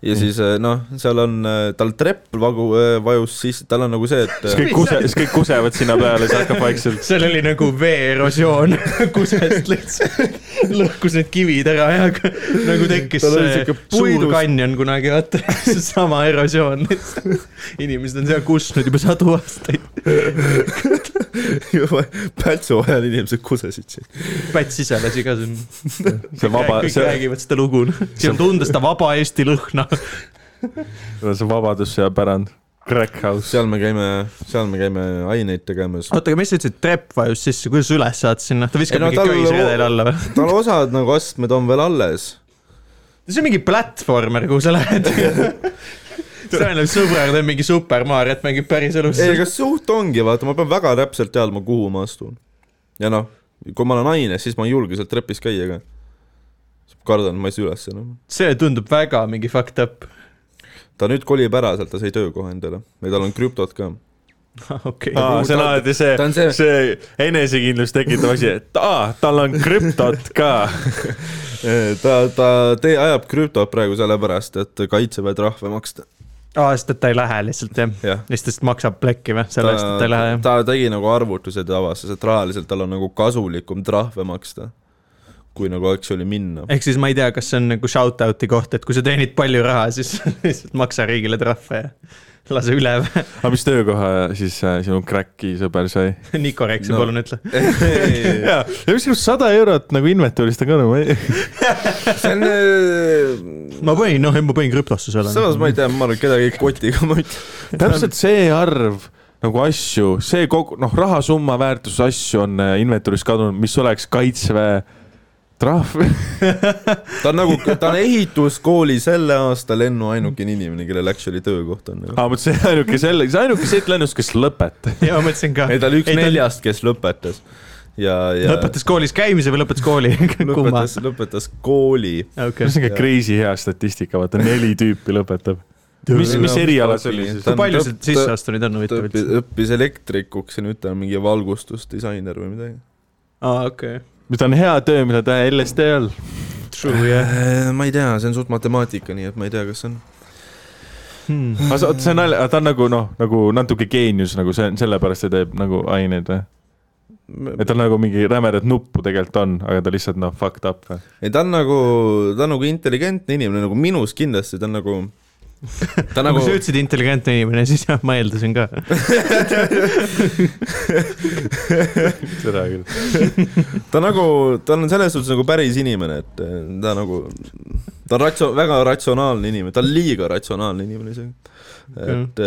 [SPEAKER 1] ja siis äh, noh , seal on , tal trepp vagu- , vajus sisse , tal on nagu see ,
[SPEAKER 2] siis
[SPEAKER 1] et
[SPEAKER 2] kõik kuse , siis kõik kusevad sinna peale , siis hakkab vaikselt .
[SPEAKER 3] seal oli nagu veeerosioon kusest lihtsalt , lõhkus need kivid ära ja k- nagu tekkis
[SPEAKER 1] Tal oli
[SPEAKER 3] see
[SPEAKER 1] siuke
[SPEAKER 3] suur
[SPEAKER 1] puidust-
[SPEAKER 3] kanjon kunagi , vaata , seesama erosioon lihtsalt . inimesed on seal kusnud juba sadu aastaid ,
[SPEAKER 1] juba Pätsu ajal inimesed kusesid siin .
[SPEAKER 3] päts ise lasi ka siin .
[SPEAKER 2] see vaba ,
[SPEAKER 3] kõik
[SPEAKER 2] see ,
[SPEAKER 3] räägivad seda lugu , siin on tunda seda vaba Eesti lõhna .
[SPEAKER 2] see vabadussõja pärand . Crack House .
[SPEAKER 1] seal me käime , seal me käime aineid tegemas .
[SPEAKER 3] oota , aga mis sa ütlesid , trepp vajus sisse , kuidas sa üles saad sinna , ta
[SPEAKER 1] Ei
[SPEAKER 3] viskab
[SPEAKER 1] no
[SPEAKER 3] mingi
[SPEAKER 1] tal-
[SPEAKER 3] köisredel alla või ?
[SPEAKER 1] tal osad nagu astmed on veel alles
[SPEAKER 3] see on mingi platvormer , kuhu sa lähed . nagu tõenäoliselt sõber teeb mingi Super Mariot , mängib päriselus .
[SPEAKER 1] ei , aga suht ongi , vaata , ma pean väga täpselt teadma , kuhu ma astun . ja noh , kui ma olen aines , siis ma ei julge seal trepis käia ka . kardan , ma ei saa üles enam .
[SPEAKER 3] see tundub väga mingi fucked up .
[SPEAKER 1] ta nüüd kolib ära sealt , ta sai töökoha endale ja tal on krüptot ka .
[SPEAKER 3] okei .
[SPEAKER 2] Aa, see on alati see
[SPEAKER 1] ta on see- ,
[SPEAKER 2] see enesekindlust tekitav asi , et aa , tal on krüptot ka .
[SPEAKER 1] ta , ta tee , ajab krüptot praegu sellepärast , et kaitseväe trahve maksta .
[SPEAKER 3] aa , sest et ta ei lähe lihtsalt jah ?
[SPEAKER 1] jah .
[SPEAKER 3] lihtsalt maksab plekki või , selle eest , et ta ei lähe jah ?
[SPEAKER 1] ta tegi nagu arvutused ja avastas , et rahaliselt tal on nagu kasulikum trahve maksta , kui nagu actually minna .
[SPEAKER 3] ehk siis ma ei tea , kas see on nagu shout-out'i koht , et kui sa teenid palju raha , siis lihtsalt maksa riigile trahve ja lase üle või ?
[SPEAKER 2] aga mis töökoha siis äh, sinu Cracki sõber sai ?
[SPEAKER 3] Niko Reksi
[SPEAKER 1] No.
[SPEAKER 3] no. palun ütle .
[SPEAKER 1] see
[SPEAKER 2] ja , ja mis sinust sada eurot nagu inventuurist on ka nagu ,
[SPEAKER 1] on äh,
[SPEAKER 3] ma panin , noh , ma panin krüptosse selle .
[SPEAKER 1] samas ma ei tea , ma arvan , et kedagi ei koti ka , ma ütlen .
[SPEAKER 2] täpselt see arv , nagu asju , see kogu , noh , rahasumma väärtus asju on äh, inventuurist kadunud , mis oleks kaitseväe trahv .
[SPEAKER 1] ta on nagu , ta on ehituskooli selle aasta lennu ainukene inimene , kellel actually töökoht on nagu. .
[SPEAKER 2] aa , vot see ainuke selle , see ainuke siit lennust , kes lõpetas .
[SPEAKER 3] ja ma mõtlesin ka .
[SPEAKER 1] ei , ta oli üks . neljast , kes lõpetas ja , ja
[SPEAKER 3] lõpetas koolis käimise või lõpetas kooli ? kumma ?
[SPEAKER 1] lõpetas , lõpetas kooli .
[SPEAKER 2] see
[SPEAKER 3] okei
[SPEAKER 2] on . siuke crazy hea statistika , vaata neli tüüpi lõpetab . mis , mis eriala see oli siis
[SPEAKER 1] Ta ?
[SPEAKER 3] kui
[SPEAKER 1] on
[SPEAKER 3] palju
[SPEAKER 1] tõp-
[SPEAKER 3] sealt
[SPEAKER 1] tõp-
[SPEAKER 3] sisse astunud on
[SPEAKER 1] ta
[SPEAKER 3] huvitav
[SPEAKER 1] õppis ,
[SPEAKER 3] üldse ?
[SPEAKER 1] õppis elektrikuks ja nüüd ta on mingi valgustusdisainer või midagi .
[SPEAKER 3] aa , okei .
[SPEAKER 2] ta on hea töö , mida teha LSD all .
[SPEAKER 3] True , jah .
[SPEAKER 1] Äh, ma ei tea , see on suht matemaatika , nii et ma ei tea , kas see on .
[SPEAKER 2] aga sa- see on nalja , ta on nagu noh , nagu natuke geenius , nagu see on , sellepärast ta teeb nagu aineid või ? et tal nagu mingi rämedat nuppu tegelikult on , aga ta lihtsalt noh , fucked up või ?
[SPEAKER 1] ei , ta on nagu , ta on nagu intelligentne inimene , nagu minus kindlasti , ta on nagu , ta on
[SPEAKER 3] nagu
[SPEAKER 1] nagu
[SPEAKER 3] sa , ütlesid intelligentne inimene , siis jah , ma eeldasin ka .
[SPEAKER 2] seda küll .
[SPEAKER 1] ta on nagu , ta on selles suhtes nagu päris inimene , et eh, ta nagu , ta on ratso- , väga ratsionaalne inimene , ta on liiga ratsionaalne inimene isegi . et ,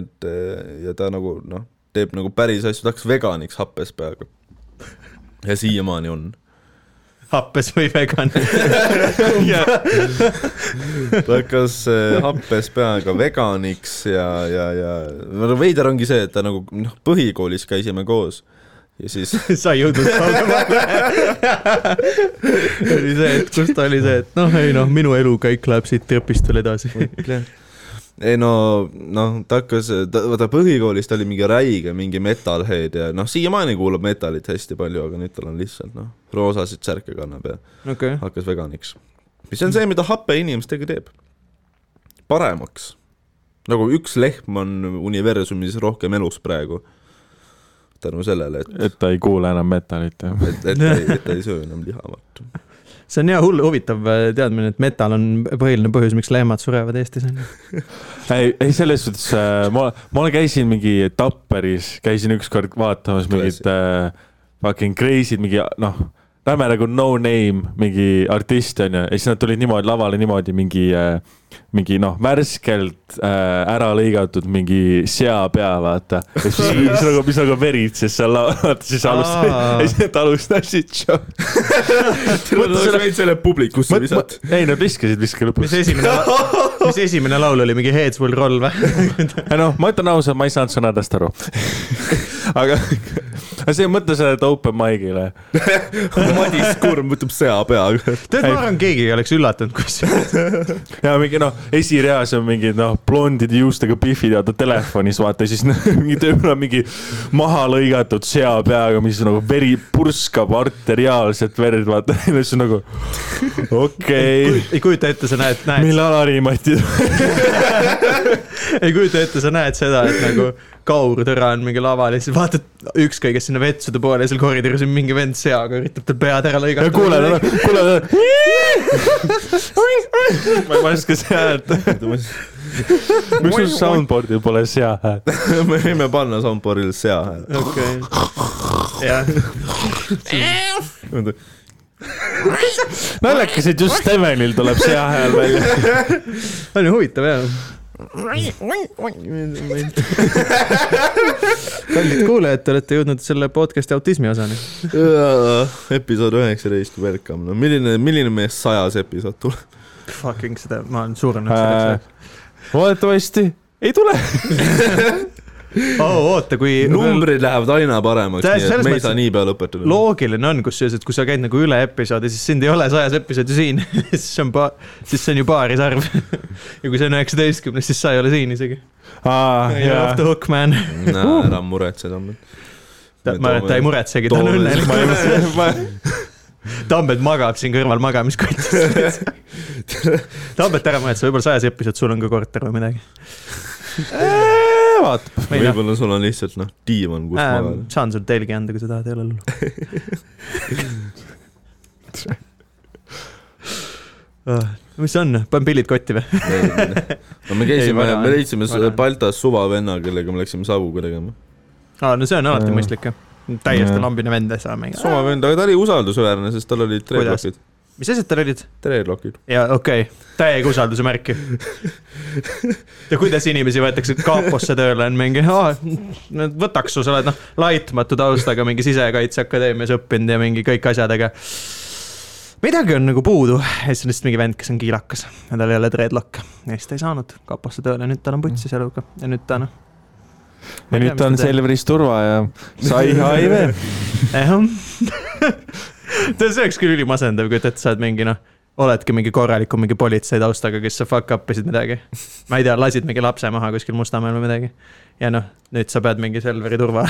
[SPEAKER 1] et eh, ja ta nagu noh , teeb nagu päris asju , ta hakkas veganiks happes peaaegu . ja siiamaani on .
[SPEAKER 3] happes või vegan .
[SPEAKER 1] ta hakkas eh, happes peaga veganiks ja , ja , ja no veider ongi see , et ta nagu noh , põhikoolis käisime koos ja siis
[SPEAKER 3] sa ei jõudnud kaugemale . oli see , et kus ta oli see , et noh , ei noh , minu elukäik läheb siit trepist veel edasi .
[SPEAKER 1] ei no , noh , ta hakkas , ta , vaata põhikoolis ta oli mingi räige , mingi metalhead ja noh , siiamaani kuulab metalit hästi palju , aga nüüd tal on lihtsalt noh , roosasid särke kannab ja
[SPEAKER 3] okei .
[SPEAKER 1] hakkas veganiks . mis on see , mida happe inimestega teeb paremaks . nagu üks lehm on universumis rohkem elus praegu tänu sellele , et
[SPEAKER 2] et ta ei kuule enam metalit jah .
[SPEAKER 1] et , et ta ei , et ta ei söö enam liha , vaata .
[SPEAKER 3] see on hea hull huvitav äh, teadmine , et metal on põhiline põhjus , miks lehmad surevad Eestis on ju .
[SPEAKER 2] ei , ei selles suhtes äh, ma , ma olen- käisin mingi Tapperis , käisin ükskord vaatamas mingit äh, fucking crazy'd , mingi noh , räme nagu no name mingi artist onju . ja siis nad tulid niimoodi lavale niimoodi mingi äh, , mingi noh , värskelt äh, ära lõigatud mingi sea pea , vaata . mis mis nagu , mis nagu veritses seal laval , vaata siis
[SPEAKER 3] Aa.
[SPEAKER 2] alustasid , ja siis nad alustasid show'd .
[SPEAKER 1] võid selle publikusse lisata .
[SPEAKER 2] ei , nad viskasid viske lõpuks
[SPEAKER 3] mis . esimene , mis esimene laul oli , mingi Heads will roll või ?
[SPEAKER 2] ei noh , ma ütlen ausalt , ma ei saanud sõnadest aru . aga , aga see ei mõtle seda , et open mic'ile .
[SPEAKER 1] Madis Kurm võtab sea peaga .
[SPEAKER 3] tead , ma arvan , keegi ei oleks üllatunud , kui see ,
[SPEAKER 2] ja mingi noh , esireas on mingid noh , blondide juustega pihvid ja ta telefonis vaata ja siis noh, mingi tööl on mingi maha lõigatud sea peaga , mis nagu veri purskab arteriaalset verd , vaata . ja siis on nagu okei okay, ,
[SPEAKER 3] ei kujuta ette , sa näed , näed
[SPEAKER 2] mille Alari Mati
[SPEAKER 3] ei kujuta ette , sa näed seda , et nagu kaurtõra on mingi laval ja siis vaatad ükskõik , kes sinna vetsude poole ja seal koridoris on mingi vend seaga , üritab tal pead ära
[SPEAKER 2] ja
[SPEAKER 3] lõigata .
[SPEAKER 2] kuule , kuule . ma ei oska seda häält , miks sul soundboard'il pole sea häält ?
[SPEAKER 1] me võime panna soundboard'ile sea hääle .
[SPEAKER 3] okei , jah ,
[SPEAKER 2] naljakas , et just Stevenil tuleb see hääl välja .
[SPEAKER 3] see on ju huvitav jah . kallid kuulajad , te olete jõudnud selle podcast'i autismi osani .
[SPEAKER 1] episood üheksateist , welcome . no milline , milline meie sajas episood tuleb ?
[SPEAKER 3] Fucking seda , ma olen surnud selleks .
[SPEAKER 2] Äh, loodetavasti ei tule .
[SPEAKER 3] oo , Oh, oota , kui
[SPEAKER 1] numbrid lähevad aina paremaks ,
[SPEAKER 3] Tä-
[SPEAKER 1] nii et
[SPEAKER 3] selles
[SPEAKER 1] me ei
[SPEAKER 3] mõttes-
[SPEAKER 1] saa niipea lõpetada .
[SPEAKER 3] loogiline on kusjuures , et kui sa käid nagu üle episoodi , siis sind ei ole sajas episoodi siin , siis see on pa- , siis see on ju paarisarv . ja kui see on üheksateistkümnes , siis sa ei ole siin isegi . ei ole off the hook , man .
[SPEAKER 1] ära muretse , Tambet .
[SPEAKER 3] ma , ta ei muretsegi , ta on
[SPEAKER 1] toome-
[SPEAKER 3] õnnelik . Tambet magab siin kõrval magamiskotis . Tambet ära muretse , võib-olla sajas episood , sul on ka korter või midagi .
[SPEAKER 2] vaatab .
[SPEAKER 3] ma ei tea. Ähm,
[SPEAKER 1] võib-olla sul on lihtsalt noh , diivan , kus magada .
[SPEAKER 3] saan sulle telgi anda , kui sa tahad , ei ole hullu . Ah, mis see on , panen pillid kotti või ?
[SPEAKER 1] no me
[SPEAKER 3] Ei,
[SPEAKER 1] käisime
[SPEAKER 3] vana , on.
[SPEAKER 1] me leidsime
[SPEAKER 3] Vana on.
[SPEAKER 1] Baltas suvavenna , kellega me läksime savuga tegema .
[SPEAKER 3] aa , Ah, no see on alati
[SPEAKER 2] Jaa.
[SPEAKER 3] mõistlik jah . täiesti
[SPEAKER 2] Jaa.
[SPEAKER 3] lambine vend ei saa mängida .
[SPEAKER 1] suvavend , aga ta oli usaldusväärne , sest tal olid
[SPEAKER 3] Kuidas?
[SPEAKER 1] treeblokid .
[SPEAKER 3] mis asjad tal olid ?
[SPEAKER 1] Dreadlockid .
[SPEAKER 3] jaa , okei okay. , täiega usalduse märk ju . ja kuidas inimesi võetakse kaaposse tööle , on mingi , võtaks su , sa oled noh , laitmatu taustaga , mingi sisekaitseakadeemias õppinud ja mingi kõik asjad , aga . midagi on nagu puudu , ja siis on lihtsalt mingi vend , kes on kiilakas ja tal ei ole dreadlock'e ja siis ta ei saanud kaaposse tööle , nüüd tal on putsis eluga ja nüüd ta noh .
[SPEAKER 2] ja nüüd ta on . Selveris turva ja sai HIV .
[SPEAKER 3] jah . tead , see oleks küll ülimasendav , kui tead , sa oled mingi noh , oledki mingi korraliku mingi politsei taustaga , kes sa fuck up isid midagi . ma ei tea , lasid mingi lapse maha kuskil Mustamäel või midagi . ja noh , nüüd sa pead mingi Selveri turva .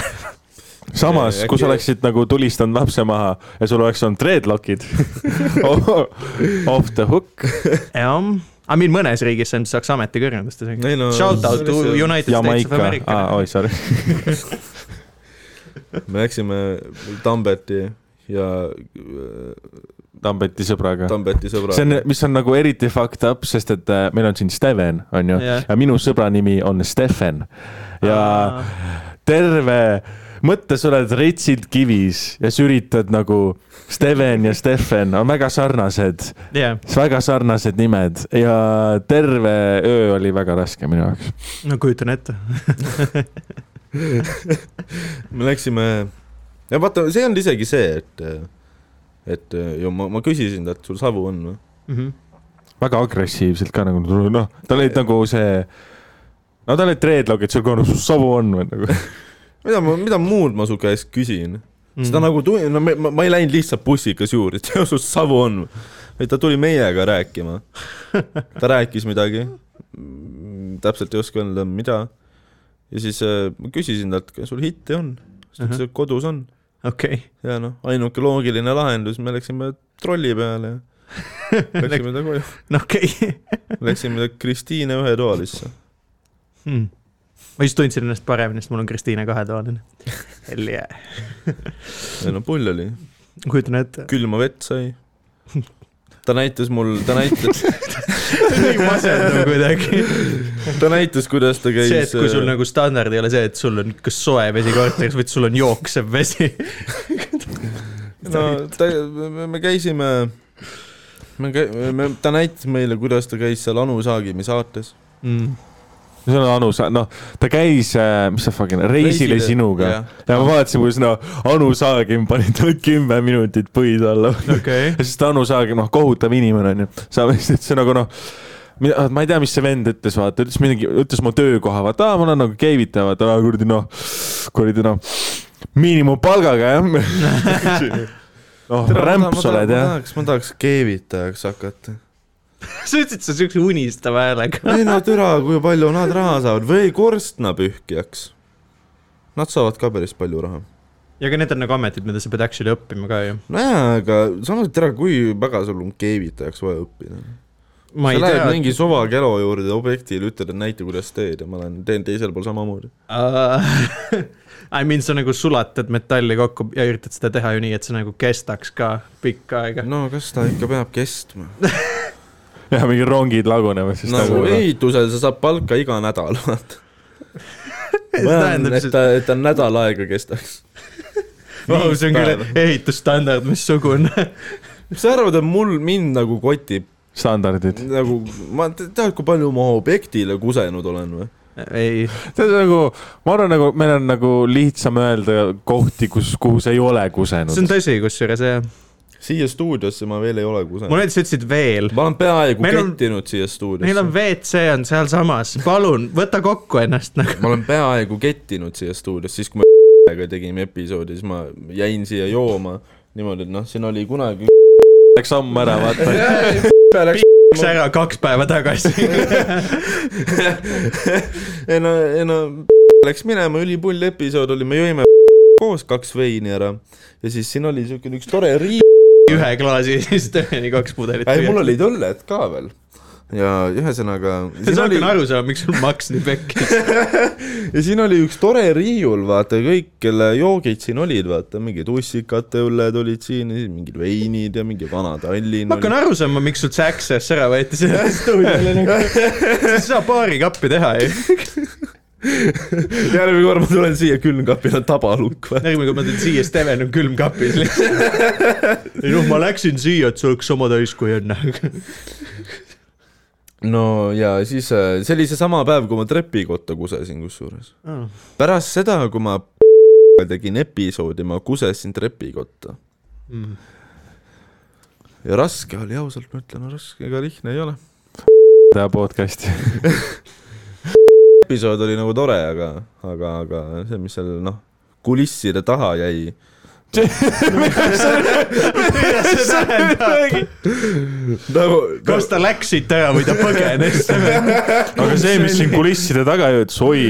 [SPEAKER 2] samas , kui sa
[SPEAKER 1] Äkki-
[SPEAKER 2] oleksid nagu tulistanud lapse maha ja sul oleks olnud dreadlockid Oh, off the hook
[SPEAKER 3] jah , aga meil mõnes riigis see on , saaks ametikõrgendust isegi .
[SPEAKER 1] ei no .
[SPEAKER 3] Shout out to United States of
[SPEAKER 2] Jamaica ,
[SPEAKER 3] America
[SPEAKER 2] aa , Ah, oi , sorry .
[SPEAKER 1] me läksime Tambeti ja
[SPEAKER 2] Tambeti sõbraga .
[SPEAKER 1] Tambeti sõbra .
[SPEAKER 2] see on , mis on nagu eriti fucked up , sest et äh, meil on siin Steven , on ju
[SPEAKER 3] Jah.
[SPEAKER 2] yeah. , ja minu sõbra nimi on Stefan ja ah. terve , mõtle , sa oled retsilt kivis ja sa üritad nagu Steven ja Stefan on väga sarnased ,
[SPEAKER 3] jah ,
[SPEAKER 2] väga sarnased nimed ja terve öö oli väga raske minu jaoks .
[SPEAKER 3] no kujutan ette .
[SPEAKER 1] me läksime , ja vaata , see ei olnud isegi see , et , et ju ma , ma küsisin talt , sul savu on või ?
[SPEAKER 2] väga agressiivselt ka nagu , noh , tal olid nagu see , no tal olid dreadlockid seal korras , savu on või nagu .
[SPEAKER 1] mida ma , mida muud ma su käest küsin ? seda . nagu tuli , no me, ma , ma ei läinud lihtsalt bussikas juurde , et jah , sul savu on . vaid ta tuli meiega rääkima . ta rääkis midagi , täpselt ei oska öelda , mida . ja siis äh, ma küsisin talt , kas sul hitte on ? siis ta ütles , et kodus on .
[SPEAKER 3] okei ,
[SPEAKER 1] ja noh , ainuke loogiline lahendus , me läksime trolli peale ja läksime ta koju ,
[SPEAKER 3] no okei .
[SPEAKER 1] läksime Kristiine ühetoalisse .
[SPEAKER 3] Hmm. ma just tundsin ennast paremini , sest mul on Kristiine kahetoaline . Hell yeah .
[SPEAKER 1] ei no pull oli ,
[SPEAKER 3] kujutan ette .
[SPEAKER 1] külma vett sai . ta näitas mul , ta näitas ,
[SPEAKER 3] nii masendav kuidagi .
[SPEAKER 1] ta näitas , kuidas ta käis . äh,
[SPEAKER 3] see , et kui sul nagu standard ei ole see , et sul on kas soe vesi korteris või et sul on jooksev vesi . nagu-
[SPEAKER 1] no ta , me käisime , me käi- , me , ta näitas meile , kuidas ta käis seal Anu Saagimi saates .
[SPEAKER 3] Mm,
[SPEAKER 2] see on Anu , noh , ta käis , mis see fucking , reisile sinuga . ja ma vaatasin , kuidas no Anu Saagim pani talle kümme minutit põid alla .
[SPEAKER 3] okei .
[SPEAKER 2] ja siis ta Anu Saagim , noh , kohutav inimene onju , saab lihtsalt see nagu noh , ma ei tea , mis see vend ütles , vaata , ütles midagi , ütles mu töökoha , vaata , aa , mul on nagu keevitaja , vaata , aa kuradi noh , kuradi noh , miinimumpalgaga jah . noh , rämps oled jah .
[SPEAKER 1] ma tahaks keevitajaks hakata .
[SPEAKER 3] sa ütlesid seda siukse unistava häälega .
[SPEAKER 1] ei no türa , kui palju nad raha saavad või korstnapühkijaks . Nad saavad ka päris palju raha .
[SPEAKER 3] ja aga need on nagu ametid , mida sa pead actually õppima ka ju .
[SPEAKER 1] nojah , aga samas türa , kui väga sul on keevitajaks vaja õppida .
[SPEAKER 3] ma
[SPEAKER 1] sa
[SPEAKER 3] ei
[SPEAKER 1] lähed
[SPEAKER 3] tea .
[SPEAKER 1] mingi suva kelo juurde objektile , ütled , et näita , kuidas teed ja ma lähen teen teisel pool samamoodi .
[SPEAKER 3] I mean , sa nagu sulatad metalli kokku ja üritad seda teha ju nii , et see nagu kestaks ka pikka aega .
[SPEAKER 1] no kas ta ikka peab kestma ?
[SPEAKER 2] ja mingid rongid lagunevad siis
[SPEAKER 1] nagu
[SPEAKER 2] nagu .
[SPEAKER 1] ehitusel sa saad palka iga nädal , vaata .
[SPEAKER 3] See tähendab
[SPEAKER 1] et
[SPEAKER 3] siis-
[SPEAKER 1] ta , et ta nädal aega kestaks .
[SPEAKER 3] Vau , oh, see on küll ehitusstandard , missugune .
[SPEAKER 1] mis sa arvad , et mul , mind nagu kotib ,
[SPEAKER 2] standardid .
[SPEAKER 1] nagu ma te- tead , kui palju ma objektile kusenud olen või ?
[SPEAKER 3] ei ,
[SPEAKER 2] see on nagu , ma arvan , nagu meil on nagu lihtsam öelda kohti , kus , kuhu sa ei ole
[SPEAKER 3] see on
[SPEAKER 2] kusenud .
[SPEAKER 3] tõsi , kusjuures jah .
[SPEAKER 1] siia stuudiosse ma veel ei ole kusenud .
[SPEAKER 3] mulle näiteks ütlesid veel .
[SPEAKER 1] ma olen peaaegu
[SPEAKER 3] Meil on-
[SPEAKER 1] kettinud on... siia
[SPEAKER 3] Neil on
[SPEAKER 1] stuudiosse .
[SPEAKER 3] WC on sealsamas , palun võta kokku ennast nagu .
[SPEAKER 1] ma olen peaaegu kettinud siia stuudiosse , siis kui me tegime episoodi , siis ma jäin siia jooma niimoodi , et noh , siin oli kunagi
[SPEAKER 2] Läks ammu ära , vaata .
[SPEAKER 3] läks ära kaks päeva tagasi .
[SPEAKER 1] ei no , ei no läks minema , ülipull episood oli , me jõime koos kaks veini ära ja siis siin oli siukene üks tore riim .
[SPEAKER 3] ühe klaasi ja siis tõeni kaks pudelit .
[SPEAKER 1] ei , mul oli õlled ka veel . ja ühesõnaga .
[SPEAKER 3] sa saad küll aru saama , miks sul maks nii pekkis .
[SPEAKER 1] ja siin oli üks tore riiul , vaata kõik , kelle joogid siin olid , vaata mingid ussikate õlled olid siin ja siis mingid veinid ja mingi vana Tallinn .
[SPEAKER 3] ma hakkan aru saama , miks sult see access ära võeti sellele stuudiole nagu . sa ei saa paari kappi teha ju .
[SPEAKER 1] järgmine kord ma tulen siia külmkapil on tabalukk või ?
[SPEAKER 3] järgmine kord ma teen siia , Steven on külmkapis lihtsalt . ei noh , ma läksin siia , et see oleks sama täis kui enne .
[SPEAKER 1] no ja siis , see oli seesama päev , kui ma trepikotta kusesin kusjuures .
[SPEAKER 3] Ah.
[SPEAKER 1] pärast seda , kui ma tegin episoodi , ma kusesin trepikotta .
[SPEAKER 3] Mm.
[SPEAKER 1] ja raske oli , ausalt ma ütlen , raske ega lihtne ei ole .
[SPEAKER 2] teha podcast'i .
[SPEAKER 1] episood oli nagu tore , aga , aga , aga see , mis seal noh , kulisside taha jäi ,
[SPEAKER 3] mida see tähendab ?
[SPEAKER 1] nagu
[SPEAKER 3] kas ta läks siit ära või ta põgenes ?
[SPEAKER 2] aga see , mis siin kulisside taga jõudis , oi ,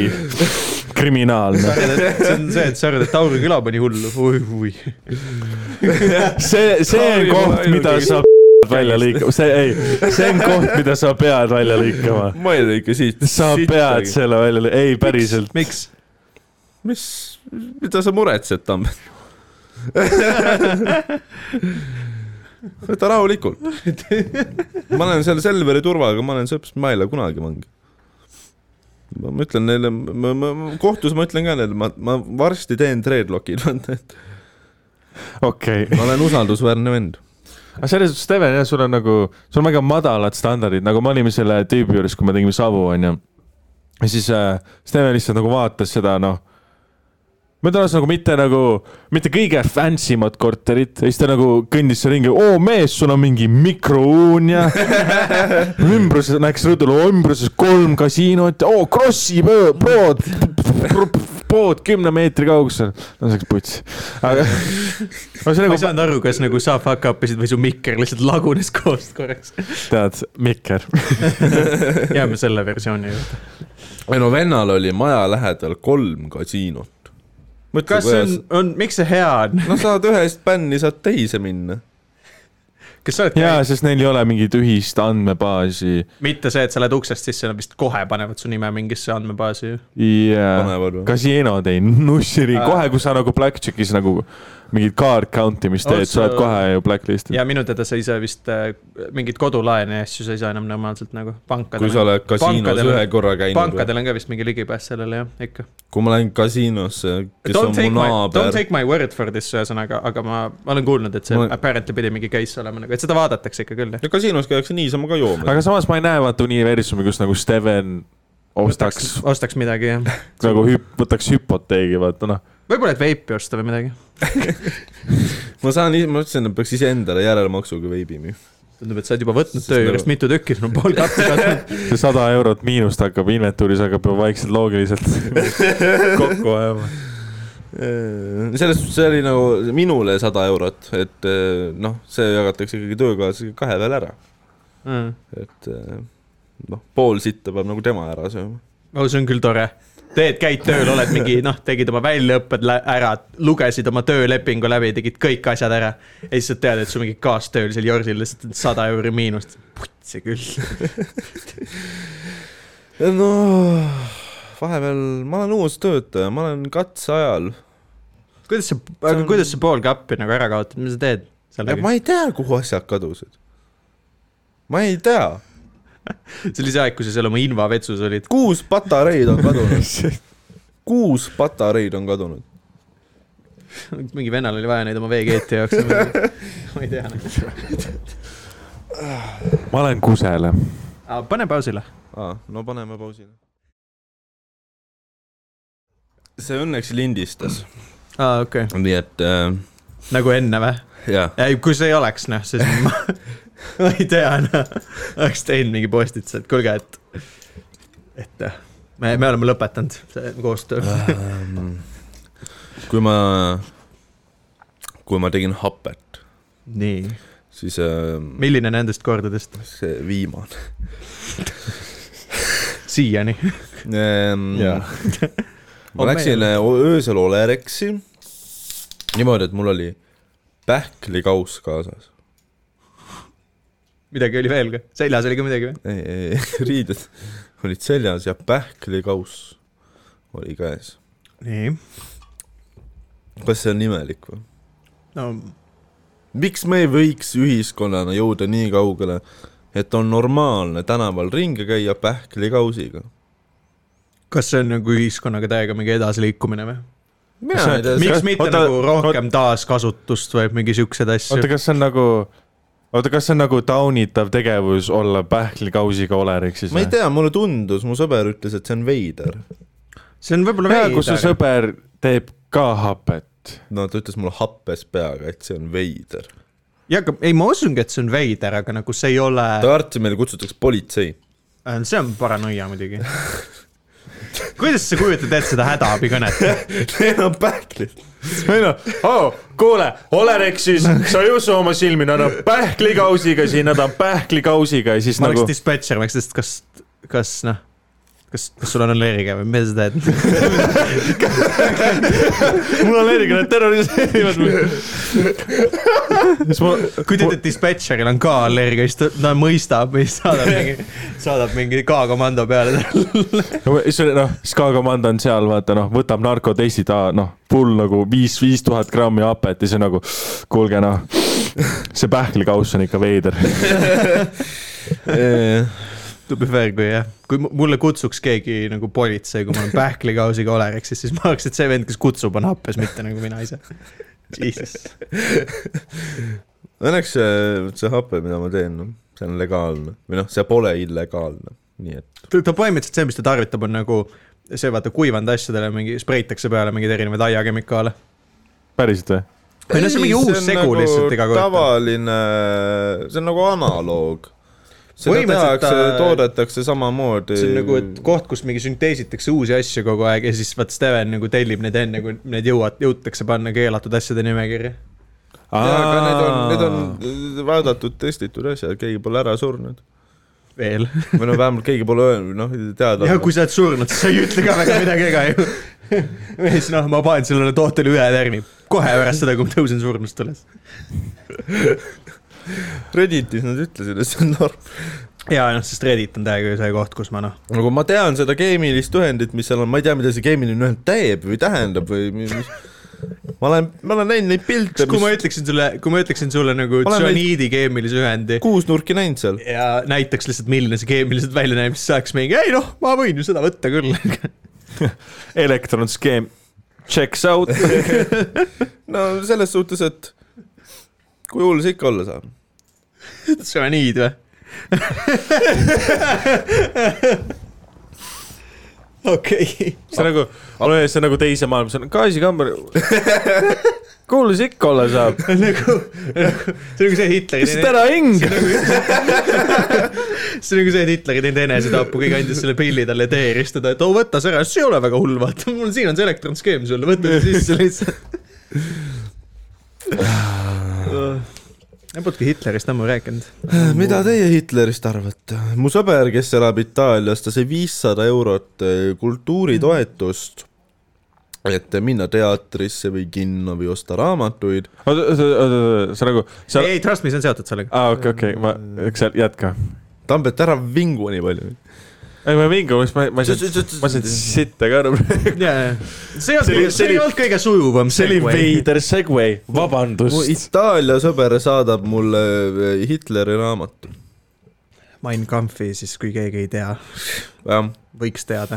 [SPEAKER 2] kriminaalne .
[SPEAKER 3] see on see , et sa arvad , et Tauri küla pani hullu , oi , oi .
[SPEAKER 2] see , see on
[SPEAKER 1] Kaari
[SPEAKER 2] koht ,
[SPEAKER 1] pole
[SPEAKER 2] mida
[SPEAKER 1] ainuke.
[SPEAKER 2] sa välja lõikama , see ei , see on koht , mida sa pead välja lõikama .
[SPEAKER 1] ma ei lõika siit .
[SPEAKER 2] sa pead . selle välja lõi- , ei päriselt .
[SPEAKER 3] miks ?
[SPEAKER 1] mis , mida sa muretsed , Tamm ? võta rahulikult . ma olen seal Selveri turvaga , ma olen sõps , ma ei lähe kunagi vangi . ma ma ütlen neile , ma , ma ma- kohtus ma ütlen ka neile , ma , ma varsti teen treadlock'id , vaata , et
[SPEAKER 2] okei okay. .
[SPEAKER 1] ma olen usaldusväärne vend .
[SPEAKER 2] aga selles suhtes , Steven , jah , sul on nagu , sul on väga madalad standardid , nagu me olime selle tüübi juures , kui me tegime Savu , onju . ja siis äh, Steven lihtsalt nagu vaatas seda , noh . ma ütlen ausalt , nagu mitte nagu , mitte kõige fancy mat korterit ja siis ta nagu kõndis seal ringi , oo mees , sul on mingi mikrouun ja ümbruses , läks rõdule , ümbruses kolm kasiinot , oo Krossi pöö- pood , pood kümne meetri kaugusel . no see läks putsi , aga . ma
[SPEAKER 3] ma ei saanud aru , kas nagu sa fuck up isid või su mikker lihtsalt lagunes koost korraks .
[SPEAKER 2] tead , mikker .
[SPEAKER 3] jääme selle versiooni juurde .
[SPEAKER 1] ei no vennal oli maja lähedal kolm kasiinot .
[SPEAKER 3] kas see on , on , miks see hea on ?
[SPEAKER 1] no saad ühest bänni , saad teise minna .
[SPEAKER 3] kas sa oled
[SPEAKER 2] jaa ,
[SPEAKER 3] käinud ,
[SPEAKER 2] sest neil ei ole mingit ühist andmebaasi
[SPEAKER 3] mitte see , et sa lähed uksest sisse , nad vist kohe panevad su nime mingisse andmebaasi ju .
[SPEAKER 2] ja
[SPEAKER 1] panevad või ?
[SPEAKER 2] kasiinod ei nussiri ,
[SPEAKER 3] Aa.
[SPEAKER 2] kohe kui sa nagu Blackjackis nagu mingit card count'i , mis teed , sa oled
[SPEAKER 3] Also-
[SPEAKER 2] kohe ju blacklist'il .
[SPEAKER 3] ja minu teada sa ise vist äh, mingeid kodulaene ja asju sa ei saa enam normaalselt nagu
[SPEAKER 1] kui sa
[SPEAKER 3] pankadele .
[SPEAKER 1] oled kasiinos
[SPEAKER 3] Pankadel-
[SPEAKER 1] ühe korra käinud .
[SPEAKER 3] pankadel on ka vist mingi ligipääs sellele jah , ikka .
[SPEAKER 1] kui ma lähen kasiinosse , kes
[SPEAKER 3] Don't
[SPEAKER 1] on
[SPEAKER 3] take
[SPEAKER 1] mu
[SPEAKER 3] my , don't
[SPEAKER 1] naaber ,
[SPEAKER 3] take my word for this ühesõnaga , aga ma , ma olen kuulnud , et see
[SPEAKER 1] Ma-
[SPEAKER 3] ma... apparently pidi mingi case olema nagu , et seda vaadatakse ikka küll jah .
[SPEAKER 1] ja kasiinos käiakse niisama ka joomas .
[SPEAKER 2] aga samas ma ei näe vaata universumi , kus nagu Steven ostaks
[SPEAKER 3] ostaks midagi jah .
[SPEAKER 2] nagu hüp- , võtaks hüpoteegi , vaata noh .
[SPEAKER 3] võib-olla , et veipi osta või midagi .
[SPEAKER 1] ma saan , ma ütlesin , et peaks iseendale järelmaksuga veebi müüma .
[SPEAKER 3] tundub , et sa oled juba võtnud
[SPEAKER 1] Sest
[SPEAKER 3] töö
[SPEAKER 1] nagu-
[SPEAKER 3] juurest mitu tükki , sul on pool katte kasvanud .
[SPEAKER 2] see sada eurot miinust hakkab inventuuris , hakkab ju vaikselt loogiliselt kokku ajama .
[SPEAKER 1] Äh, selles suhtes see oli nagu minule sada eurot , et eh, noh , see jagatakse ikkagi töökaaslasega kahe peale ära , et eh, noh , pool sitta peab nagu tema ära sööma .
[SPEAKER 3] oh , see on küll tore . teed , käid tööl , oled mingi noh , tegid oma väljaõpped lä- ära , lugesid oma töölepingu läbi , tegid kõik asjad ära . ja siis sa tead , et sul mingi kaastöölisel Jorsil lihtsalt on sada euri miinust . putsi küll .
[SPEAKER 1] no vahepeal ma olen uus töötaja , ma olen katseajal ,
[SPEAKER 3] kuidas sa , aga
[SPEAKER 1] on-
[SPEAKER 3] kuidas sa pool kappi nagu ära kaotad , mis sa teed seal ?
[SPEAKER 1] ma ei tea , kuhu asjad kadusid . ma ei tea ,
[SPEAKER 3] see oli see aeg , kui sa seal oma invavetsus olid .
[SPEAKER 1] kuus patareid on kadunud . kuus patareid on kadunud .
[SPEAKER 3] mingi vennal oli vaja neid oma veekeeti jaoks . ma ei tea .
[SPEAKER 2] ma lähen kusele .
[SPEAKER 3] pane pausile .
[SPEAKER 1] aa , no paneme pausile . see õnneks lindistas ,
[SPEAKER 3] aa , okei okay. .
[SPEAKER 1] nii et äh,
[SPEAKER 3] nagu enne või ?
[SPEAKER 1] jah .
[SPEAKER 3] ei , kui see ei oleks , noh , siis ma, ma ei tea , noh , oleks teinud mingi postituse , et kuulge , et , et noh, me , me oleme lõpetanud see koostöö .
[SPEAKER 1] Ähm. kui ma , kui ma tegin hapet ,
[SPEAKER 3] nii ,
[SPEAKER 1] siis äh,
[SPEAKER 3] milline nendest kordadest
[SPEAKER 1] see viimane
[SPEAKER 3] siiani ?
[SPEAKER 1] ähm, . ma
[SPEAKER 3] On
[SPEAKER 1] läksin äh, öösel Olereksi niimoodi , et mul oli pähklikauss kaasas .
[SPEAKER 3] midagi oli veel ka , seljas oli ka midagi või ?
[SPEAKER 1] ei , ei , ei , riided olid seljas ja pähklikauss oli käes .
[SPEAKER 3] nii ,
[SPEAKER 1] kas see on imelik või ?
[SPEAKER 3] no
[SPEAKER 1] miks me ei võiks ühiskonnana jõuda nii kaugele , et on normaalne tänaval ringi käia pähklikausiga ?
[SPEAKER 3] kas see on nagu ühiskonnaga täiega mingi edasiliikumine või ?
[SPEAKER 1] mina ei tea ,
[SPEAKER 3] miks mitte
[SPEAKER 2] Oota,
[SPEAKER 3] oota, nagu rohkem oota, taaskasutust või mingi siukseid asju
[SPEAKER 2] oota ,? kas see on nagu , oota , kas see on nagu taunitav tegevus olla pähklikausiga oleriks siis
[SPEAKER 1] ma ei ? tea , mulle tundus , mu sõber ütles , et see on veider .
[SPEAKER 3] see on võib-olla
[SPEAKER 2] jaa , kui su
[SPEAKER 3] veider .
[SPEAKER 2] sõber teeb ka hapet .
[SPEAKER 1] no ta ütles mulle happes peaga , et see on veider .
[SPEAKER 3] jaa , aga ei , ma usungi , et see on veider , aga nagu see ei ole ,
[SPEAKER 1] Tartu meile kutsutakse politsei .
[SPEAKER 3] Äh, see on paranoia muidugi . kuidas sa kujutad ette seda hädaabikõnet ?
[SPEAKER 1] Need on pähklid .
[SPEAKER 2] ei noh oh, , kuule , olereksis , sa ei usu oma silmi , nad on pähklikausiga siin , nad on pähklikausiga ja siis
[SPEAKER 3] ma
[SPEAKER 2] nagu
[SPEAKER 3] oleks , dispetšer , ma oleks lihtsalt , kas , kas noh , kas , kas sul on allergia või mida sa teed ?
[SPEAKER 2] mul on leeriga , nad terroriseerivad mind . siis ma ,
[SPEAKER 3] kui te ütlete , et dispetšeril on ka allergia , siis ta, ta mõistab või saadab mingi , saadab mingi K-komando peale .
[SPEAKER 2] siis oli noh , SKA komand on seal , vaata noh , võtab narkotestid , noh , full nagu viis , viis tuhat grammi hapet ja siis on nagu , kuulge noh , see pähklikauss on ikka veider .
[SPEAKER 3] To be fair , kui jah , kui mu- mulle kutsuks keegi nagu politsei , kui ma olen pähklikausiga olereksis , siis ma arvaks , et see vend , kes kutsub , on happes , mitte nagu mina ise . Jesus ,
[SPEAKER 1] Õnneks see, see hape , mida ma teen , see on legaalne või noh , see pole illegaalne , nii et
[SPEAKER 3] ta ta põhimõtteliselt see , mis ta tarvitab , on nagu see , vaata kuivanud asjadele mingi spreitakse peale mingeid erinevaid aiakemikaale .
[SPEAKER 2] päriselt või ?
[SPEAKER 3] Ei, no see on mingi
[SPEAKER 1] Ei,
[SPEAKER 3] uus
[SPEAKER 1] on
[SPEAKER 3] segu
[SPEAKER 1] nagu
[SPEAKER 3] lihtsalt iga kord.
[SPEAKER 1] tavaline , see on nagu analoog . seda
[SPEAKER 3] Põhimõtteliselt
[SPEAKER 1] tehakse
[SPEAKER 3] ta- ,
[SPEAKER 1] toodetakse samamoodi .
[SPEAKER 3] see on nagu , et koht , kus mingi sünteesitakse uusi asju kogu aeg ja siis vaat Steven nagu tellib neid enne , kui need jõuad , jõutakse panna keelatud asjade nimekirja .
[SPEAKER 1] jaa , aga need on , need on äh, vaadatud , testitud asjad , keegi pole ära surnud .
[SPEAKER 3] veel .
[SPEAKER 1] või no vähemalt keegi pole öelnud , noh , teada .
[SPEAKER 3] ja kui sa oled surnud , siis sa ei ütle ka väga midagi , ega ju . või siis noh , ma panen sellele tootele ühe tärni kohe pärast seda , kui ma tõusen surnust üles .
[SPEAKER 1] Redditis nad ütlesid , et see on norm .
[SPEAKER 3] ja noh , sest Reddit on täiega ju see koht , kus ma noh ,
[SPEAKER 1] nagu ma tean seda keemilist ühendit , mis seal on , ma ei tea , mida see keemiline ühend teeb või tähendab või mis . ma olen , ma olen näinud neid pilte ,
[SPEAKER 3] kui ma
[SPEAKER 1] mis
[SPEAKER 3] ütleksin sulle , kui ma ütleksin sulle
[SPEAKER 1] Ma
[SPEAKER 3] nagu
[SPEAKER 1] olen veid-
[SPEAKER 3] tsüaniidi keemilise ühendi
[SPEAKER 1] kuusnurki näinud seal .
[SPEAKER 3] ja näitaks lihtsalt , milline see keemiliselt välja näeb , siis saaks mingi , ei noh , ma võin ju seda võtta küll .
[SPEAKER 2] elektronskeem checks out .
[SPEAKER 1] no selles suhtes , et kui hull see ikka olla saab .
[SPEAKER 3] tsüaniid või ? okei okay. ,
[SPEAKER 2] see on nagu , see on nagu teise maailma , see on gaasikamber . kuule , mis ikka olla saab ?
[SPEAKER 3] nagu , see on nagu see Hitleri
[SPEAKER 2] lihtsalt ära hing .
[SPEAKER 3] see on nagu see , et Hitler ei teinud enesetappu , keegi andis selle pilli talle tee ristada , et oo võta see ära , see ei ole väga hull , vaata mul siin on see elektronskeem sulle , võta see sisse lihtsalt . Ah. ma polnudki Äh. Hitlerist ammu rääkinud .
[SPEAKER 1] mida teie Hitlerist arvate ? mu sõber , kes elab Itaalias , ta sai viissada eurot eh, kultuuritoetust , et minna teatrisse või kinno või osta raamatuid .
[SPEAKER 2] oota , oota , oota , see on nagu , see on ,
[SPEAKER 3] ei , trust me , see on seotud sellega .
[SPEAKER 2] aa , okei , okei , ma , eks sa jätka .
[SPEAKER 1] Tambet , ära vingu nii palju .
[SPEAKER 2] ei , ma ei vingu , ma , ma ei saanud , ma sain sitta ka aru .
[SPEAKER 3] see ei
[SPEAKER 2] See oli-
[SPEAKER 3] olnud , see ei olnud kõige sujuvam .
[SPEAKER 2] see oli . veider segway ,
[SPEAKER 1] mu
[SPEAKER 2] vabandust .
[SPEAKER 1] Itaalia sõber saadab mulle eh, Hitleri raamatu .
[SPEAKER 3] Mein Kampfi siis , kui keegi ei tea ,
[SPEAKER 1] jah ,
[SPEAKER 3] võiks teada .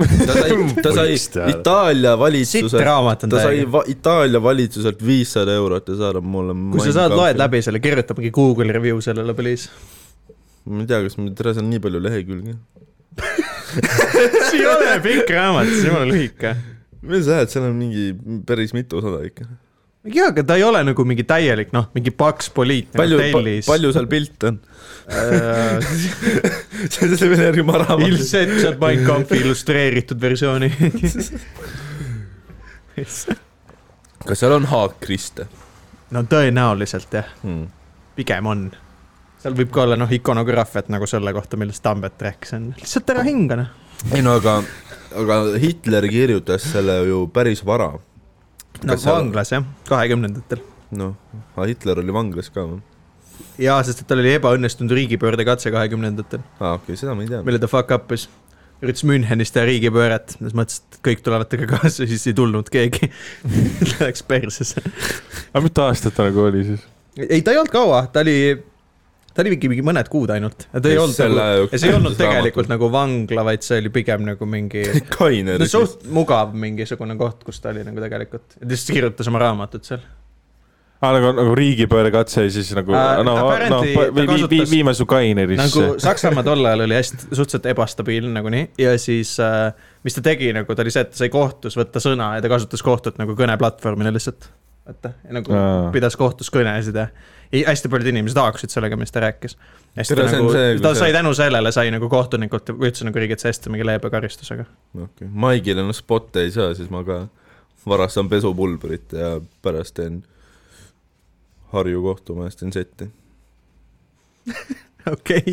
[SPEAKER 1] ta sai , ta sai
[SPEAKER 2] Võiks teada.
[SPEAKER 1] Itaalia
[SPEAKER 3] sitt
[SPEAKER 1] valitsuse ,
[SPEAKER 3] raamat on
[SPEAKER 1] ta sai
[SPEAKER 3] täiega .
[SPEAKER 1] va- Itaalia valitsuselt viissada eurot ja saadab mulle .
[SPEAKER 3] kui sa saad , loed läbi selle , kirjuta mingi Google review sellele , please .
[SPEAKER 1] ma ei tea , kas mul , tere , seal on nii palju lehekülgi .
[SPEAKER 3] see ei ole pikk raamat , see on jumala lühike .
[SPEAKER 1] mis sa ajad , seal on mingi päris mitusada ikka .
[SPEAKER 3] jaa , aga ta ei ole nagu mingi täielik , noh , mingi paks nagu poliitne
[SPEAKER 1] palju ,
[SPEAKER 3] hotellis .
[SPEAKER 1] palju seal pilte on ?
[SPEAKER 3] palju .
[SPEAKER 1] selle peale järgi ma raamatust .
[SPEAKER 3] Äh, ilmselt saad Mein Kampfi illustreeritud versiooni .
[SPEAKER 1] kas seal on haakriste
[SPEAKER 3] no tõenäoliselt jah ,
[SPEAKER 1] hmm. ?
[SPEAKER 3] pigem on . seal võib ka olla , noh , ikonograafiat nagu selle kohta , millest Tambet rääkis , on lihtsalt ära hinga , noh .
[SPEAKER 1] ei no aga , aga Hitler kirjutas selle ju päris vara .
[SPEAKER 3] no
[SPEAKER 1] Kas seal-
[SPEAKER 3] vanglas jah , kahekümnendatel .
[SPEAKER 1] noh , aga Hitler oli vanglas ka või ?
[SPEAKER 3] jaa , sest et tal oli ebaõnnestunud riigipöördekatse kahekümnendatel ,
[SPEAKER 1] aa ah, , okei okay, , seda ma ei tea .
[SPEAKER 3] mille ta fuck up'is . üritas Münchenis teha riigipööret , siis mõtles , et kõik tulevad temaga kaasa , siis ei tulnud keegi . Läks persesse .
[SPEAKER 2] aga mitu aastat ta nagu oli siis ?
[SPEAKER 3] ei , ta ei olnud kaua , ta oli , ta oli mingi , mingi mõned kuud ainult . ta ei
[SPEAKER 1] Ja
[SPEAKER 3] olnud
[SPEAKER 1] selle
[SPEAKER 3] nagu , ja see ei olnud
[SPEAKER 1] raamatut.
[SPEAKER 3] tegelikult nagu vangla , vaid see oli pigem nagu mingi
[SPEAKER 1] kaine
[SPEAKER 3] no, . suht mugav mingisugune koht , kus ta oli nagu tegelikult . ta lihtsalt kirjutas oma raamatut seal .
[SPEAKER 2] aa , nagu , nagu riigipööre katse ja siis nagu
[SPEAKER 3] Äh,
[SPEAKER 2] uh, , no , no
[SPEAKER 3] apparently ta
[SPEAKER 2] vi, vi, vi,
[SPEAKER 3] kasutas-
[SPEAKER 2] viime su kainerisse
[SPEAKER 3] nagu
[SPEAKER 2] nagu... .
[SPEAKER 3] Saksamaa tol ajal oli hästi , suhteliselt ebastabiilne nagunii ja siis äh, mis ta tegi nagu , ta oli see , et ta sai kohtus võtta sõna ja ta kasutas kohtut nagu kõneplatvormina lihtsalt . vaata , nagu
[SPEAKER 2] Aa.
[SPEAKER 3] pidas kohtus kõnesid ja ja hästi paljud inimesed haaksid sellega , mis ta rääkis .
[SPEAKER 1] Tere, see on
[SPEAKER 3] Nagu,
[SPEAKER 1] see, kui
[SPEAKER 3] ta
[SPEAKER 1] see-
[SPEAKER 3] sai tänu sellele , sai nagu kohtunikult ja üldse nagu riigid sai hästi mingi leebe karistusega .
[SPEAKER 1] okei , Maigile noh spotte ei saa , siis ma ka varastan pesupulbrit ja pärast teen Harju kohtumajas teen setti .
[SPEAKER 3] okei okay. ,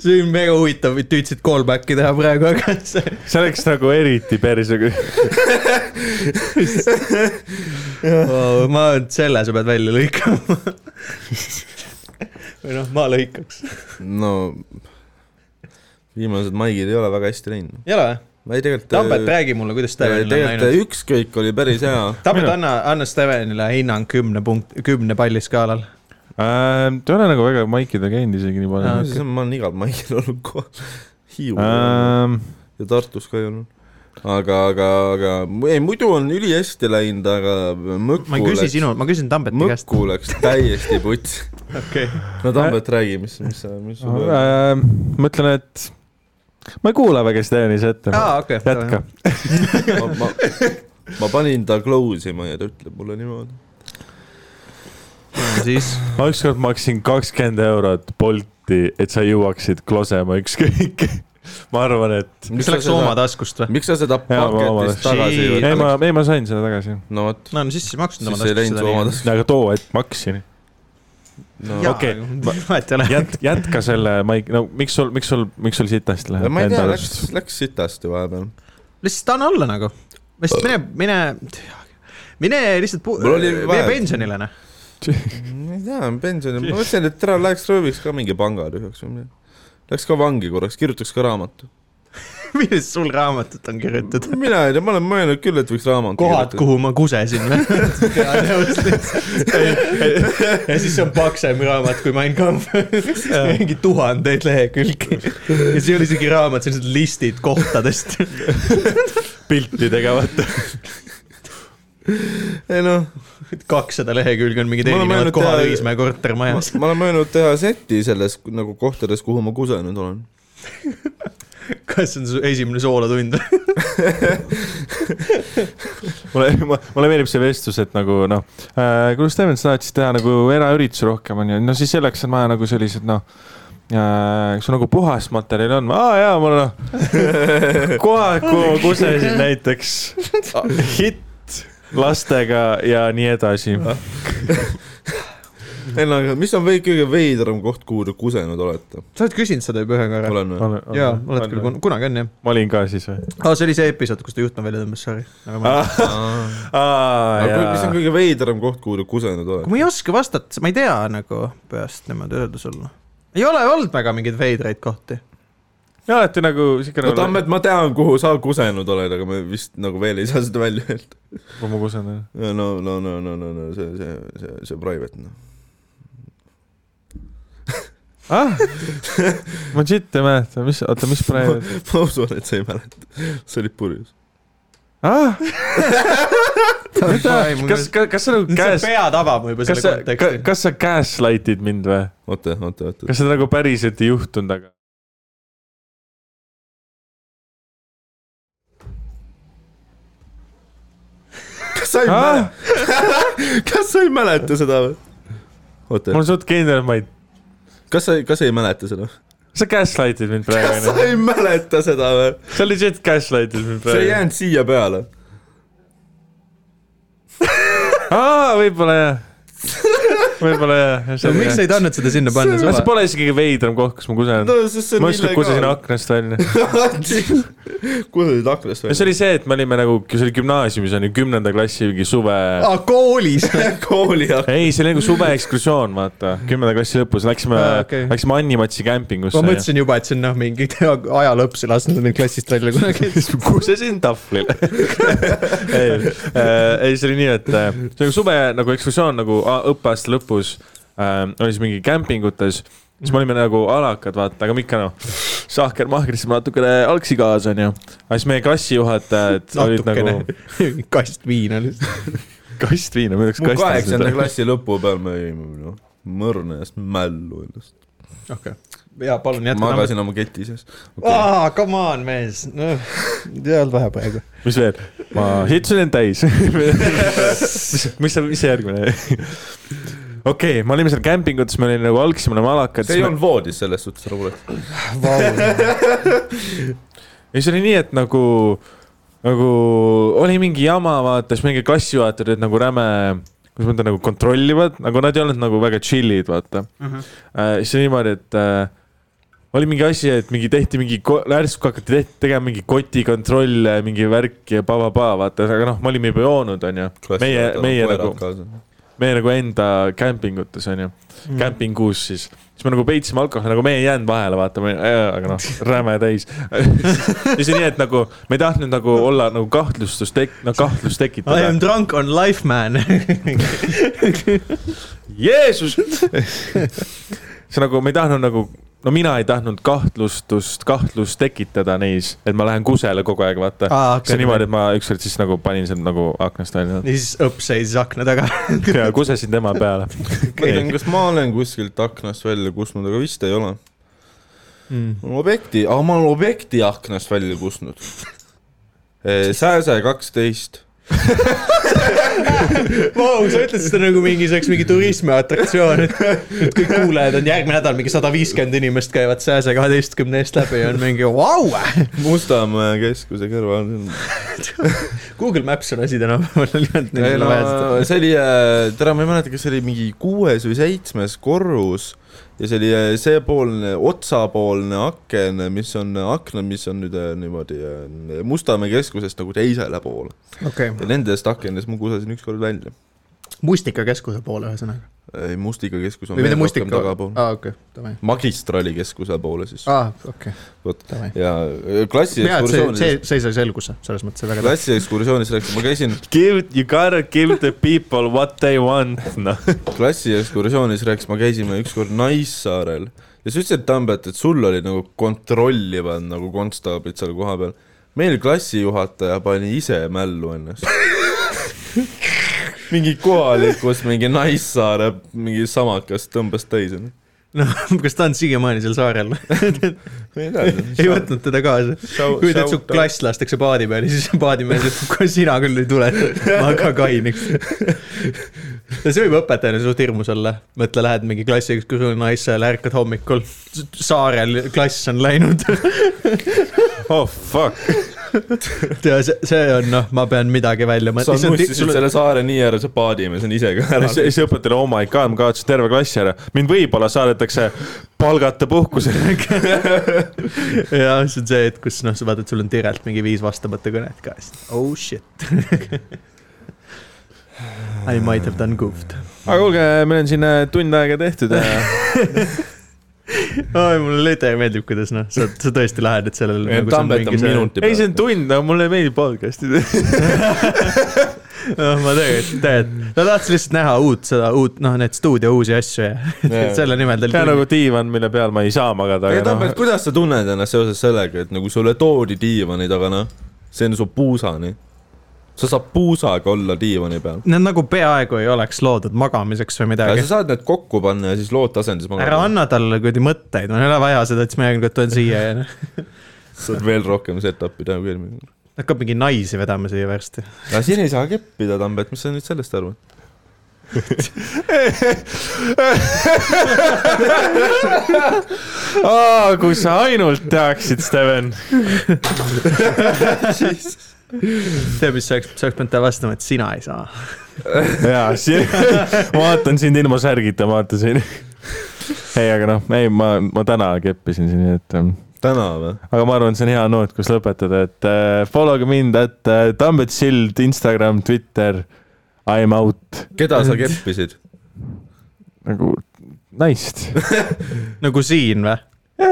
[SPEAKER 3] see on väga huvitav , tüüdsid callback'i teha praegu , aga see
[SPEAKER 2] see oleks nagu eriti päris , aga
[SPEAKER 3] oh, . ma arvan , et selle sa pead välja lõikama . või noh , ma lõikaks .
[SPEAKER 1] no viimased Maigid ei ole väga hästi läinud .
[SPEAKER 3] ei ole või ?
[SPEAKER 1] ei tegelikult
[SPEAKER 3] Tambet , räägi mulle , kuidas Stevenil on
[SPEAKER 1] tegelikult
[SPEAKER 3] läinud .
[SPEAKER 1] ükskõik oli päris hea .
[SPEAKER 3] Tambet ,
[SPEAKER 2] Minu-
[SPEAKER 3] anna , anna Stevenile hinnang kümne punkt , kümne palli skaalal .
[SPEAKER 2] äh, ta ei ole nagu väga maikidel käinud isegi nii palju
[SPEAKER 3] Aa,
[SPEAKER 2] uh, .
[SPEAKER 1] siis on , ma olen igal Maigil olnud kohal , Hiiul
[SPEAKER 3] Ah.
[SPEAKER 1] uh...
[SPEAKER 2] Okay.
[SPEAKER 1] ja Tartus ka ei olnud aga , aga , aga ei , muidu on ülihästi läinud , aga Mõkku
[SPEAKER 3] ma ei küsi
[SPEAKER 1] läks-
[SPEAKER 3] sinu , ma küsin Tambeti käest . Ah.
[SPEAKER 1] Mõkku läks täiesti putsi .
[SPEAKER 3] okei ,
[SPEAKER 1] no Tambet , räägi , mis , mis sa , mis sa
[SPEAKER 2] Uh,
[SPEAKER 3] Ah,
[SPEAKER 2] ma ütlen , et ma ei kuula väga Stenis ette .
[SPEAKER 3] aa okei .
[SPEAKER 2] jätka .
[SPEAKER 1] ma , ma , ma panin ta close ima ja ta ütleb mulle niimoodi .
[SPEAKER 3] siis ,
[SPEAKER 2] ma ükskord maksin kakskümmend eurot Bolti , et sa jõuaksid klosema ükskõik . ma arvan , et ,
[SPEAKER 3] kas see läks oma taskust või ?
[SPEAKER 1] miks sa seda
[SPEAKER 2] Jaa, ma
[SPEAKER 1] paketist
[SPEAKER 2] vabandan.
[SPEAKER 1] tagasi ei
[SPEAKER 3] Shit.
[SPEAKER 2] ei ma
[SPEAKER 1] võtnud ?,
[SPEAKER 2] ei ma sain selle tagasi .
[SPEAKER 1] no vot ,
[SPEAKER 3] no siis ei maksnud oma
[SPEAKER 1] siis ei
[SPEAKER 3] taskust
[SPEAKER 1] läinud
[SPEAKER 3] seda
[SPEAKER 1] su oma
[SPEAKER 3] nii .
[SPEAKER 1] taskust .
[SPEAKER 2] aga too hetk maksin .
[SPEAKER 1] no
[SPEAKER 3] jaa ,
[SPEAKER 2] Okei.
[SPEAKER 3] vahet ei ole .
[SPEAKER 2] jät- , jätka selle , Maik , no miks sul , miks sul , miks sul sitasti läheb ?
[SPEAKER 1] ma ei tea , läks , läks sitasti vahepeal .
[SPEAKER 3] lihtsalt anna alla nagu , lihtsalt mine , mine , mine lihtsalt pu- ,
[SPEAKER 1] Mul oli
[SPEAKER 3] mine
[SPEAKER 1] vaja-
[SPEAKER 3] pensionile noh .
[SPEAKER 1] ma ei tea , pensionil , ma mõtlesin , et ära läheks rööviks ka mingi pangalühjaks või midagi . Läks ka vangi korraks , kirjutaks ka raamatu .
[SPEAKER 3] millest sul raamatut on kirjutatud ?
[SPEAKER 1] mina ei tea , ma olen mõelnud küll , et võiks raamatu
[SPEAKER 3] kohad , kuhu ma kusesin või ja siis see on paksem raamat kui Mein Kampf . mingi tuhandeid lehekülgi . ja see ei ole isegi raamat , see on lihtsalt listid kohtadest .
[SPEAKER 2] pilti tegevat .
[SPEAKER 1] ei noh ,
[SPEAKER 3] kakssada lehekülge on mingid
[SPEAKER 1] Ma olen
[SPEAKER 3] erinevad
[SPEAKER 1] mõelnud teha-
[SPEAKER 3] kohad Õismäe
[SPEAKER 1] ma
[SPEAKER 3] kortermajas .
[SPEAKER 1] ma olen mõelnud teha seti selles nagu kohtades , kuhu ma kusenud olen .
[SPEAKER 3] kas see on su esimene soolatund või ?
[SPEAKER 2] mulle , mulle meeldib see vestlus , et nagu noh äh, , kuidas Steven , sa tahad siis teha nagu eraüritusi rohkem onju , no siis selleks on vaja nagu sellised noh äh, , kas sul nagu puhas materjal on , noh, aa jaa , mul noh , kohad , kuhu ma kusesin näiteks , hitt lastega ja nii edasi .
[SPEAKER 1] ei no aga mis on veid- , kõige veidram koht , kuhu te kusenud olete ?
[SPEAKER 3] sa oled küsinud seda juba ühe korra .
[SPEAKER 1] olen või ?
[SPEAKER 3] jaa , oled küll , kunagi on jah .
[SPEAKER 2] ma olin ka siis või ?
[SPEAKER 3] aa , see oli see episood , kus ta juhtme välja tõmbas , sorry . aga
[SPEAKER 1] aga
[SPEAKER 2] aa
[SPEAKER 1] kui- mis on
[SPEAKER 2] jaa ,
[SPEAKER 1] kõige veidram koht , kuhu te kusenud olete ?
[SPEAKER 3] ma ei oska vastata , ma ei tea nagu peast niimoodi öelda sulle . ei ole olnud väga mingeid veidraid kohti .
[SPEAKER 2] ja alati nagu siuke
[SPEAKER 1] no
[SPEAKER 2] nagu ,
[SPEAKER 1] Tammet , ma tean , kuhu sa kusenud oled , aga me vist nagu veel ei saa seda välja öelda .
[SPEAKER 2] kui ma kusen jah .
[SPEAKER 1] no , no , no , no , no , no see , see , see , see private noh .
[SPEAKER 2] ah , ma siit ei mäleta , mis , oota , mis praegu ,
[SPEAKER 1] ma usun , et sa ei mäleta , sa olid purjus .
[SPEAKER 2] ah , kas ,
[SPEAKER 3] kas
[SPEAKER 2] kas , kas sa nagu
[SPEAKER 3] käes...
[SPEAKER 2] käes ,
[SPEAKER 3] pea tabama juba
[SPEAKER 2] kas
[SPEAKER 3] selle
[SPEAKER 2] sa ,
[SPEAKER 3] konteksti ka, .
[SPEAKER 2] kas sa gaslight'id mind või ?
[SPEAKER 1] oota , oota , oota .
[SPEAKER 2] kas seda nagu päriselt ei juhtunud , aga ?
[SPEAKER 1] kas sa ei
[SPEAKER 2] Ah,
[SPEAKER 1] mäleta , kas sa ei mäleta seda või ?
[SPEAKER 2] ma
[SPEAKER 1] oota ,
[SPEAKER 2] olen suht kindel , et ma ei ,
[SPEAKER 1] kas sa , kas sa ei mäleta seda ?
[SPEAKER 2] sa gaslight'id mind
[SPEAKER 1] kas
[SPEAKER 2] praegu
[SPEAKER 1] sa , ei mäleta seda või ?
[SPEAKER 2] sa legit gaslight'id mind
[SPEAKER 1] see ei
[SPEAKER 2] praegu .
[SPEAKER 1] jäänud siia peale .
[SPEAKER 2] aa , Ah, võib-olla jah , võib-olla jah , jah .
[SPEAKER 3] miks sa ei tahtnud seda sinna panna
[SPEAKER 2] aga see
[SPEAKER 3] suva ?
[SPEAKER 2] pole isegi kõige veidram koht , kus ma kusen .
[SPEAKER 1] no sest see on
[SPEAKER 2] ma ükskord kusesin aknast välja .
[SPEAKER 1] illegaalne . kusesid aknast
[SPEAKER 2] no see oli see , et me olime nagu , see oli gümnaasiumis on ju , kümnenda klassi mingi suve
[SPEAKER 3] aa , Ah, koolis .
[SPEAKER 1] kooli aknast .
[SPEAKER 2] ei , see oli nagu suveekskursioon , vaata , kümnenda klassi lõpus läksime
[SPEAKER 3] Aa, , okei.
[SPEAKER 2] läksime Annimatsi kämpingusse .
[SPEAKER 3] ma mõtlesin juba , et see on noh , mingi ajalõps ei lasknud mind klassist välja kunagi .
[SPEAKER 2] kusesin tahvlile . ei , ei see oli nii , et äh, nagu, see oli suve nagu ekskursioon nagu a- õppeaasta lõpus äh, oli siis mingi kämpingutes siis me olime nagu alakad , vaata , aga ikka noh , sahkermahkrisse ma natukene algsi kaasa onju . aga siis meie klassijuhatajad olid nagu
[SPEAKER 3] natukene kast viina lihtsalt .
[SPEAKER 2] kast viina , ma ei tea ,
[SPEAKER 1] mu
[SPEAKER 2] kas kast
[SPEAKER 1] kaheksanda . klassi lõpu peal me jõime noh , mõrna eest mällu ennast .
[SPEAKER 3] okei okay. . ja palun jätka .
[SPEAKER 1] magasin oma keti sees okay. .
[SPEAKER 3] aa , come on , mees , noh , ei olnud vähe praegu .
[SPEAKER 2] mis veel ? ma hitsusin end täis . mis , mis see , mis see järgmine ? okei okay, , me olime seal kämpingutes , me olime nagu algsi , me olime alakad .
[SPEAKER 1] see ei olnud voodis selles suhtes , ära kuule .
[SPEAKER 2] ja siis oli nii , et nagu , nagu oli mingi jama , vaata , siis mingi klassijuhatajad olid nagu räme , kuidas ma ütlen , nagu kontrollivad , nagu nad ei olnud nagu väga chill'id , vaata uh .
[SPEAKER 3] Mhm.
[SPEAKER 2] -huh. siis oli niimoodi , et äh, oli mingi asi , et mingi tehti mingi , järsku hakati teht- tegema mingi kotikontrolle , mingi värki ja pa-pa-pa , vaata , aga noh , me olime juba joonud , onju . meie , meie nagu , meie nagu enda kämpingutes onju mm. , kämpingus siis . siis me nagu peitsime alkoholi , nagu me ei jäänud vahele , vaata , aga noh , räme täis . ja see nii , et nagu me ei tahtnud nagu olla nagu kahtlustust tek- , no kahtlust
[SPEAKER 3] I am
[SPEAKER 2] tekitada .
[SPEAKER 3] drunk on life man .
[SPEAKER 2] Jeesus ! see nagu , me ei tahtnud nagu , no mina ei tahtnud kahtlustust , kahtlust tekitada neis , et ma lähen kusele kogu aeg , vaata .
[SPEAKER 3] Aa, Ah, okei.
[SPEAKER 2] see niimoodi , et ma ükskord siis nagu panin sealt nagu aknast välja
[SPEAKER 3] ja siis õpp seisis akna taga .
[SPEAKER 2] ja kusesin tema peale .
[SPEAKER 1] ma ei tea , kas ma olen kuskilt aknast välja kusnud , aga vist ei ole .
[SPEAKER 3] Mm.
[SPEAKER 1] ma olen objekti , aa , ma olen objekti aknast välja kusnud . Sääse kaksteist .
[SPEAKER 3] Vau , sa ütled seda nagu mingi , see oleks mingi turismiatraktsioon , et et kõik kuulajad on järgmine nädal mingi sada viiskümmend inimest käivad sääse kaheteistkümne eest läbi ja on mingi vau .
[SPEAKER 1] Mustamäe keskuse kõrval .
[SPEAKER 3] Google Maps on asi tänapäeval ainult neil on vaja
[SPEAKER 1] see oli , täna ma ei mäleta , kas see oli mingi kuues või seitsmes korrus ja see oli äh, seepoolne , otsapoolne aken , mis on eh, akna , mis on nüüd äh, niimoodi äh, Mustamäe keskusest nagu teisele poole .
[SPEAKER 3] seda . okei
[SPEAKER 1] ja nendest akenest ma kusasin ükskord välja .
[SPEAKER 3] mustikakeskuse poole ühesõnaga .
[SPEAKER 1] ei , Mustika keskus on
[SPEAKER 3] või mitte
[SPEAKER 1] veel rohkem
[SPEAKER 3] mustika ,
[SPEAKER 1] tagapool .
[SPEAKER 3] aa okei , davai .
[SPEAKER 1] magistrali keskuse poole siis ,
[SPEAKER 3] aa , okei ,
[SPEAKER 1] vot .
[SPEAKER 3] davai .
[SPEAKER 1] ja äh, klassi
[SPEAKER 3] Ah. mina , et see , see
[SPEAKER 1] ekskursioonis ,,
[SPEAKER 3] see sai selguse , selles mõttes väga
[SPEAKER 1] klassi ekskursioonis läks , ma käisin ,
[SPEAKER 2] Give , you gotta give the people what they want , noh .
[SPEAKER 1] klassi ekskursioonis läks , ma käisime ükskord Naissaarel ja sa ütlesid , Tambet , et sul oli nagu kontrollivad nagu konstaablid seal kohapeal . meil klassijuhataja pani ise mällu ennast . mingi kohalikus mingi Naissaare mingi samakas tõmbas täis .
[SPEAKER 3] noh , kas ta on siiamaani seal saarel ? ei võtnud teda kaasa .
[SPEAKER 1] Shout-
[SPEAKER 3] kujutad , su
[SPEAKER 1] shout out.
[SPEAKER 3] klass lastakse paadi peal ja siis paadimees ütleb , kuule sina küll ei tule , ma ka kainiks . ja see võib õpetajana suht hirmus olla , mõtle , lähed mingi klassi ekskursiooni naissõjale , ärkad hommikul , saarel klass on läinud .
[SPEAKER 2] oh fuck .
[SPEAKER 3] ja see , see on noh , ma pean midagi välja
[SPEAKER 1] sa nussisid
[SPEAKER 3] mõtlema .
[SPEAKER 1] selle saare nii ära , sa paadimees on ise ka ära .
[SPEAKER 2] siis õpetaja , oh my god , ma kaotasin terve klassi ära . mind võib-olla saadetakse palgata puhkusele .
[SPEAKER 3] ja see on see hetk , kus noh , sa vaatad , sul on tirelt mingi viis vastamata kõnet ka , siis oh shit . I might have done goofed .
[SPEAKER 2] aga kuulge , meil on siin äh, tund aega tehtud äh. ja
[SPEAKER 3] oi , mulle Lede meeldib , kuidas noh , sa , sa tõesti lähened sellele . nagu,
[SPEAKER 1] Tambet on minuti
[SPEAKER 2] ei , see on tund , aga mulle meeldib podcast'i teha .
[SPEAKER 3] noh , ma tegelikult , tegelikult , ta tahtis lihtsalt näha uut , seda uut , noh , neid stuudio uusi asju ja
[SPEAKER 1] Jaa.
[SPEAKER 3] selle nimel ta oli
[SPEAKER 2] see on . nagu diivan , mille peal ma ei saa magada ,
[SPEAKER 1] ei
[SPEAKER 2] aga
[SPEAKER 1] Tambet ,
[SPEAKER 2] noh .
[SPEAKER 1] kuidas sa tunned ennast seoses sellega , et nagu sulle toodi diivani taga , noh , see on su puusani . sa saad puusaga olla diivani peal .
[SPEAKER 3] Need nagu peaaegu ei oleks loodud magamiseks või
[SPEAKER 1] aga
[SPEAKER 3] midagi
[SPEAKER 1] sa . saad need kokku panna ja siis lood tasandis
[SPEAKER 3] ära
[SPEAKER 1] magada .
[SPEAKER 3] anna talle kuidagi mõtteid , mul ei ole vaja seda , et siis ma järgmine kord tulen siia ja noh ,
[SPEAKER 1] saad veel rohkem setup'i teha kui eelmine kord .
[SPEAKER 3] hakkab mingi naisi vedama siia varsti .
[SPEAKER 1] aga siin ei saa keppida , Tambet , mis sa nüüd sellest arvad ?
[SPEAKER 2] kui sa ainult teaksid , Steven .
[SPEAKER 3] tead , mis sa oleks , sa oleks pidanud talle vastama , et sina ei saa .
[SPEAKER 2] jaa , ma vaatan sind ilma särgita , ma vaatan sind . ei , aga noh , ei , ma , ma täna keppisin siin , nii et ähm,
[SPEAKER 1] täna või ?
[SPEAKER 2] aga ma arvan , et see on hea noot , kus lõpetada , et äh, follow ge mind , et äh, Tambet Sild , Instagram , Twitter , I m out
[SPEAKER 1] keda sa keppisid ?
[SPEAKER 2] nagu naist .
[SPEAKER 3] nagu siin või ?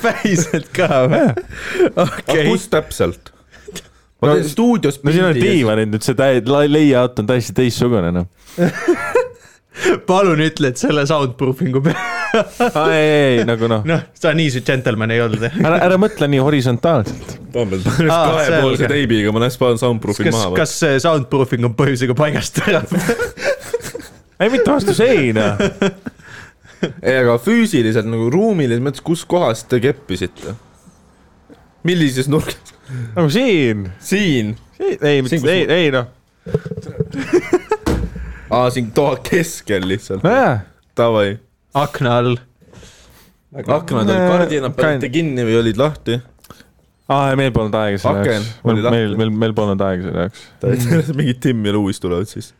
[SPEAKER 3] päriselt ka või ?
[SPEAKER 1] aga
[SPEAKER 3] okei .
[SPEAKER 1] kus täpselt ? ma
[SPEAKER 2] No-
[SPEAKER 1] teen stuudios
[SPEAKER 2] no siin on
[SPEAKER 1] pildi ja siis-
[SPEAKER 2] diivanid nüüd , see täi- , layout on täiesti teistsugune noh .
[SPEAKER 3] palun ütle , et selle soundproofing'u peale ,
[SPEAKER 2] ei , ei , ei nagu noh ,
[SPEAKER 3] noh , sa nii sihuke džentelmen ei olnud .
[SPEAKER 2] ära , ära mõtle nii horisontaalselt .
[SPEAKER 1] Tambel
[SPEAKER 3] Aa,
[SPEAKER 1] kahepoolse
[SPEAKER 3] selge.
[SPEAKER 1] teibiga , ma lähen panen soundproof'i
[SPEAKER 3] kas
[SPEAKER 1] maha ,.
[SPEAKER 3] kas see soundproofing on põhjusega paigast ära ?
[SPEAKER 2] ei , mitte vastus ei noh .
[SPEAKER 1] ei , aga füüsiliselt nagu ruumilises mõttes , kus kohas te keppisite ? millises nurgas ?
[SPEAKER 2] nagu siin .
[SPEAKER 1] siin .
[SPEAKER 2] ei , ei ,
[SPEAKER 1] Siin, kus
[SPEAKER 2] ei , ei noh .
[SPEAKER 1] aa , siin toa keskel lihtsalt .
[SPEAKER 2] nojah ,
[SPEAKER 1] Davai .
[SPEAKER 3] akna all .
[SPEAKER 1] aknad olid
[SPEAKER 2] Äh,
[SPEAKER 1] kardinad , panite kinni või olid lahti ?
[SPEAKER 2] aa , meil polnud aega selle
[SPEAKER 1] Aken
[SPEAKER 2] jaoks .
[SPEAKER 1] oli
[SPEAKER 2] meil ,
[SPEAKER 1] lahti.
[SPEAKER 2] meil, meil , meil polnud aega selle jaoks .
[SPEAKER 1] mingid Tim ja Lewis tulevad siis .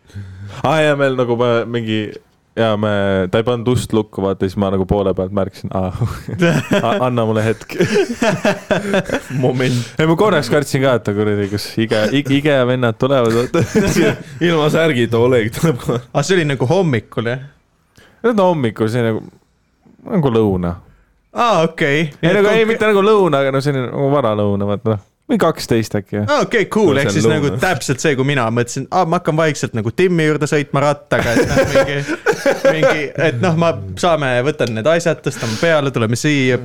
[SPEAKER 2] aa ja meil nagu me, mingi ja me , ta ei pannud ust lukku , vaata siis ma nagu poole pealt märkasin , aa , anna mulle hetk .
[SPEAKER 1] moment .
[SPEAKER 2] ei ma korraks kartsin ka , et kuradi , kas Ige , Ige ja vennad tulevad , vaata .
[SPEAKER 1] ilma särgita Oleg tuleb kohe .
[SPEAKER 3] aga see oli nagu hommikul jah ?
[SPEAKER 2] Need on hommikul see nagu , nagu lõuna .
[SPEAKER 3] aa , Ah, okei .
[SPEAKER 2] ei nagu ei , mitte nagu lõuna , aga no selline nagu varalõuna , vaata noh , või kaksteist äkki jah .
[SPEAKER 3] aa , Ah, okei , cool ,
[SPEAKER 1] No see
[SPEAKER 3] ehk
[SPEAKER 1] on
[SPEAKER 3] siis nagu
[SPEAKER 1] lõuna.
[SPEAKER 3] täpselt see , kui mina mõtlesin , aa , ma hakkan vaikselt nagu Timmi juurde sõitma rattaga , et noh , mingi , mingi , et noh , ma saame , võtan need asjad , tõstame peale , tuleme siia .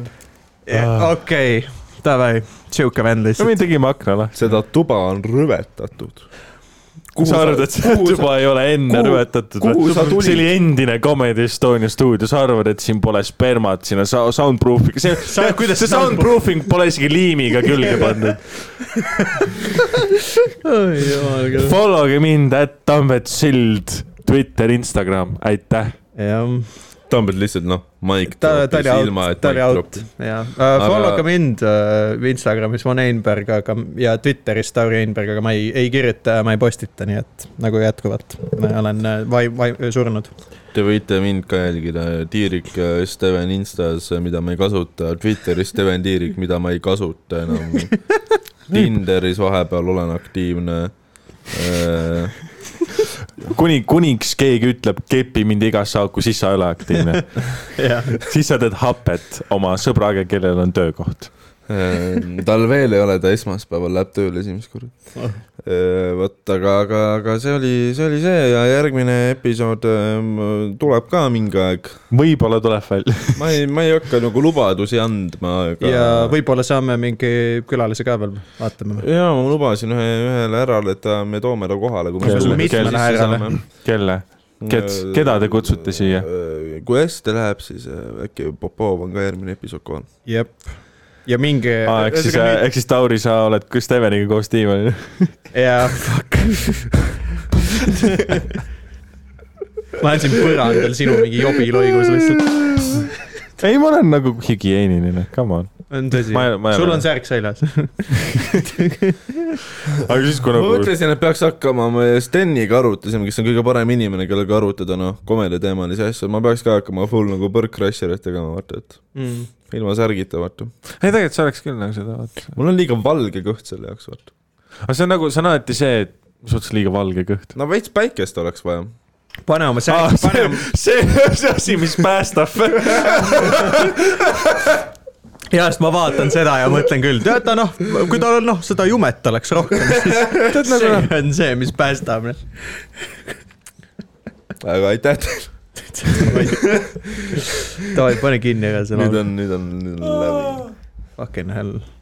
[SPEAKER 2] Aa.
[SPEAKER 3] okei , davai , sihuke vend
[SPEAKER 2] no
[SPEAKER 3] lihtsalt .
[SPEAKER 2] me tegime akna lahti .
[SPEAKER 1] seda tuba on rüvetatud .
[SPEAKER 2] sa arvad , et see tuba ei ole enne
[SPEAKER 1] kuhu-
[SPEAKER 2] rüvetatud
[SPEAKER 1] kuhu sa tulid?
[SPEAKER 2] see oli endine Comedy Estonia stuudio , sa arvad , et siin pole spermat sinna sa- soundproof'i , see ,
[SPEAKER 3] Sa- kuidas
[SPEAKER 2] see soundproofing pole isegi liimiga külge pandud . Follow ge mind , at Tambet Sild , Twitter , Instagram , aitäh .
[SPEAKER 3] jah ,
[SPEAKER 1] Tambel lihtsalt noh , maik
[SPEAKER 3] ta , ta oli
[SPEAKER 1] droppis ilma ,
[SPEAKER 3] out ,
[SPEAKER 1] et
[SPEAKER 3] ta oli
[SPEAKER 1] maik
[SPEAKER 3] out
[SPEAKER 1] droppis .,
[SPEAKER 3] jah . Follow
[SPEAKER 1] Aga-
[SPEAKER 3] ka mind äh, Instagramis , Von Einberg , aga ja Twitteris Tauri Einberg , aga ma ei , ei kirjuta ja ma ei postita , nii et nagu jätkuvalt ma olen äh, vai- , vai- , surnud .
[SPEAKER 1] Te võite mind ka jälgida , Tiirik äh, Steven Instas , mida ma ei kasuta , Twitteris Steven Tiirik , mida ma ei kasuta enam . Tinderis vahepeal olen aktiivne . Äh,
[SPEAKER 2] kuni , kuniks keegi ütleb , kepi mind igasse auku , siis sa ei ole aktiivne .
[SPEAKER 3] jah
[SPEAKER 2] siis sa teed hapet oma sõbraga , kellel on töökoht .
[SPEAKER 1] äh, tal veel ei ole , ta esmaspäeval läheb tööle esimest korda . vot , aga , aga , aga see oli , see oli see ja järgmine episood ähm, tuleb ka mingi aeg .
[SPEAKER 2] võib-olla tuleb välja .
[SPEAKER 1] ma ei , ma ei hakka nagu lubadusi andma , aga .
[SPEAKER 3] ja võib-olla saame mingi külalise ka veel , vaatame .
[SPEAKER 1] jaa , ma lubasin ühe , ühele härrale , et ta- me toome ta kohale , kui me
[SPEAKER 2] Kelle-
[SPEAKER 3] mitmele härrale? ?
[SPEAKER 2] kelle ? Kets- keda te kutsute siia? ?
[SPEAKER 1] Äh, kui hästi läheb , siis äh, äkki Popov on ka järgmine episood kohal .
[SPEAKER 3] jep . ja mingi .
[SPEAKER 2] aa , ehk siis , äh, ehk siis Tauri , sa oled ka Steveniga koos diivanil .
[SPEAKER 3] jaa , fuck . ma olen siin põrandal sinu mingi jobiloigus lihtsalt .
[SPEAKER 2] ei , ma olen nagu hügieeniline , come on .
[SPEAKER 3] on tõsi
[SPEAKER 2] Ma ei- ma ei ?
[SPEAKER 3] sul
[SPEAKER 2] ole.
[SPEAKER 3] on särk seljas .
[SPEAKER 2] aga siis , kui
[SPEAKER 1] ma
[SPEAKER 2] nagu ,
[SPEAKER 1] mõtlesin , et peaks hakkama , me Steniga arutasime , kes on kõige parem inimene , kellega arutada noh , komediateemalisi asju , ma peaks ka hakkama full nagu põrkkrasserit tegema , vaata et ilma särgita , vaata .
[SPEAKER 2] ei tegelikult see oleks küll nagu seda , vaata .
[SPEAKER 1] mul on liiga valge kõht selle jaoks , vaata .
[SPEAKER 2] aga see on nagu , see on alati see , et suhteliselt liiga valge kõht .
[SPEAKER 1] no veits päikest oleks vaja .
[SPEAKER 3] pane oma
[SPEAKER 2] Ah,
[SPEAKER 3] särk , pane
[SPEAKER 2] see , see on see asi , mis päästab .
[SPEAKER 3] ja sest ma vaatan seda ja mõtlen küll , tead ta noh , kui tal on noh , seda jumet oleks rohkem , siis see
[SPEAKER 2] nagu-
[SPEAKER 3] on see , mis päästab . noh.
[SPEAKER 1] aga aitäh teile ,
[SPEAKER 3] davai , pane kinni ära see
[SPEAKER 1] nüüd
[SPEAKER 3] laul .
[SPEAKER 1] on , nüüd on nüüd on läbi .
[SPEAKER 3] Fucking hell .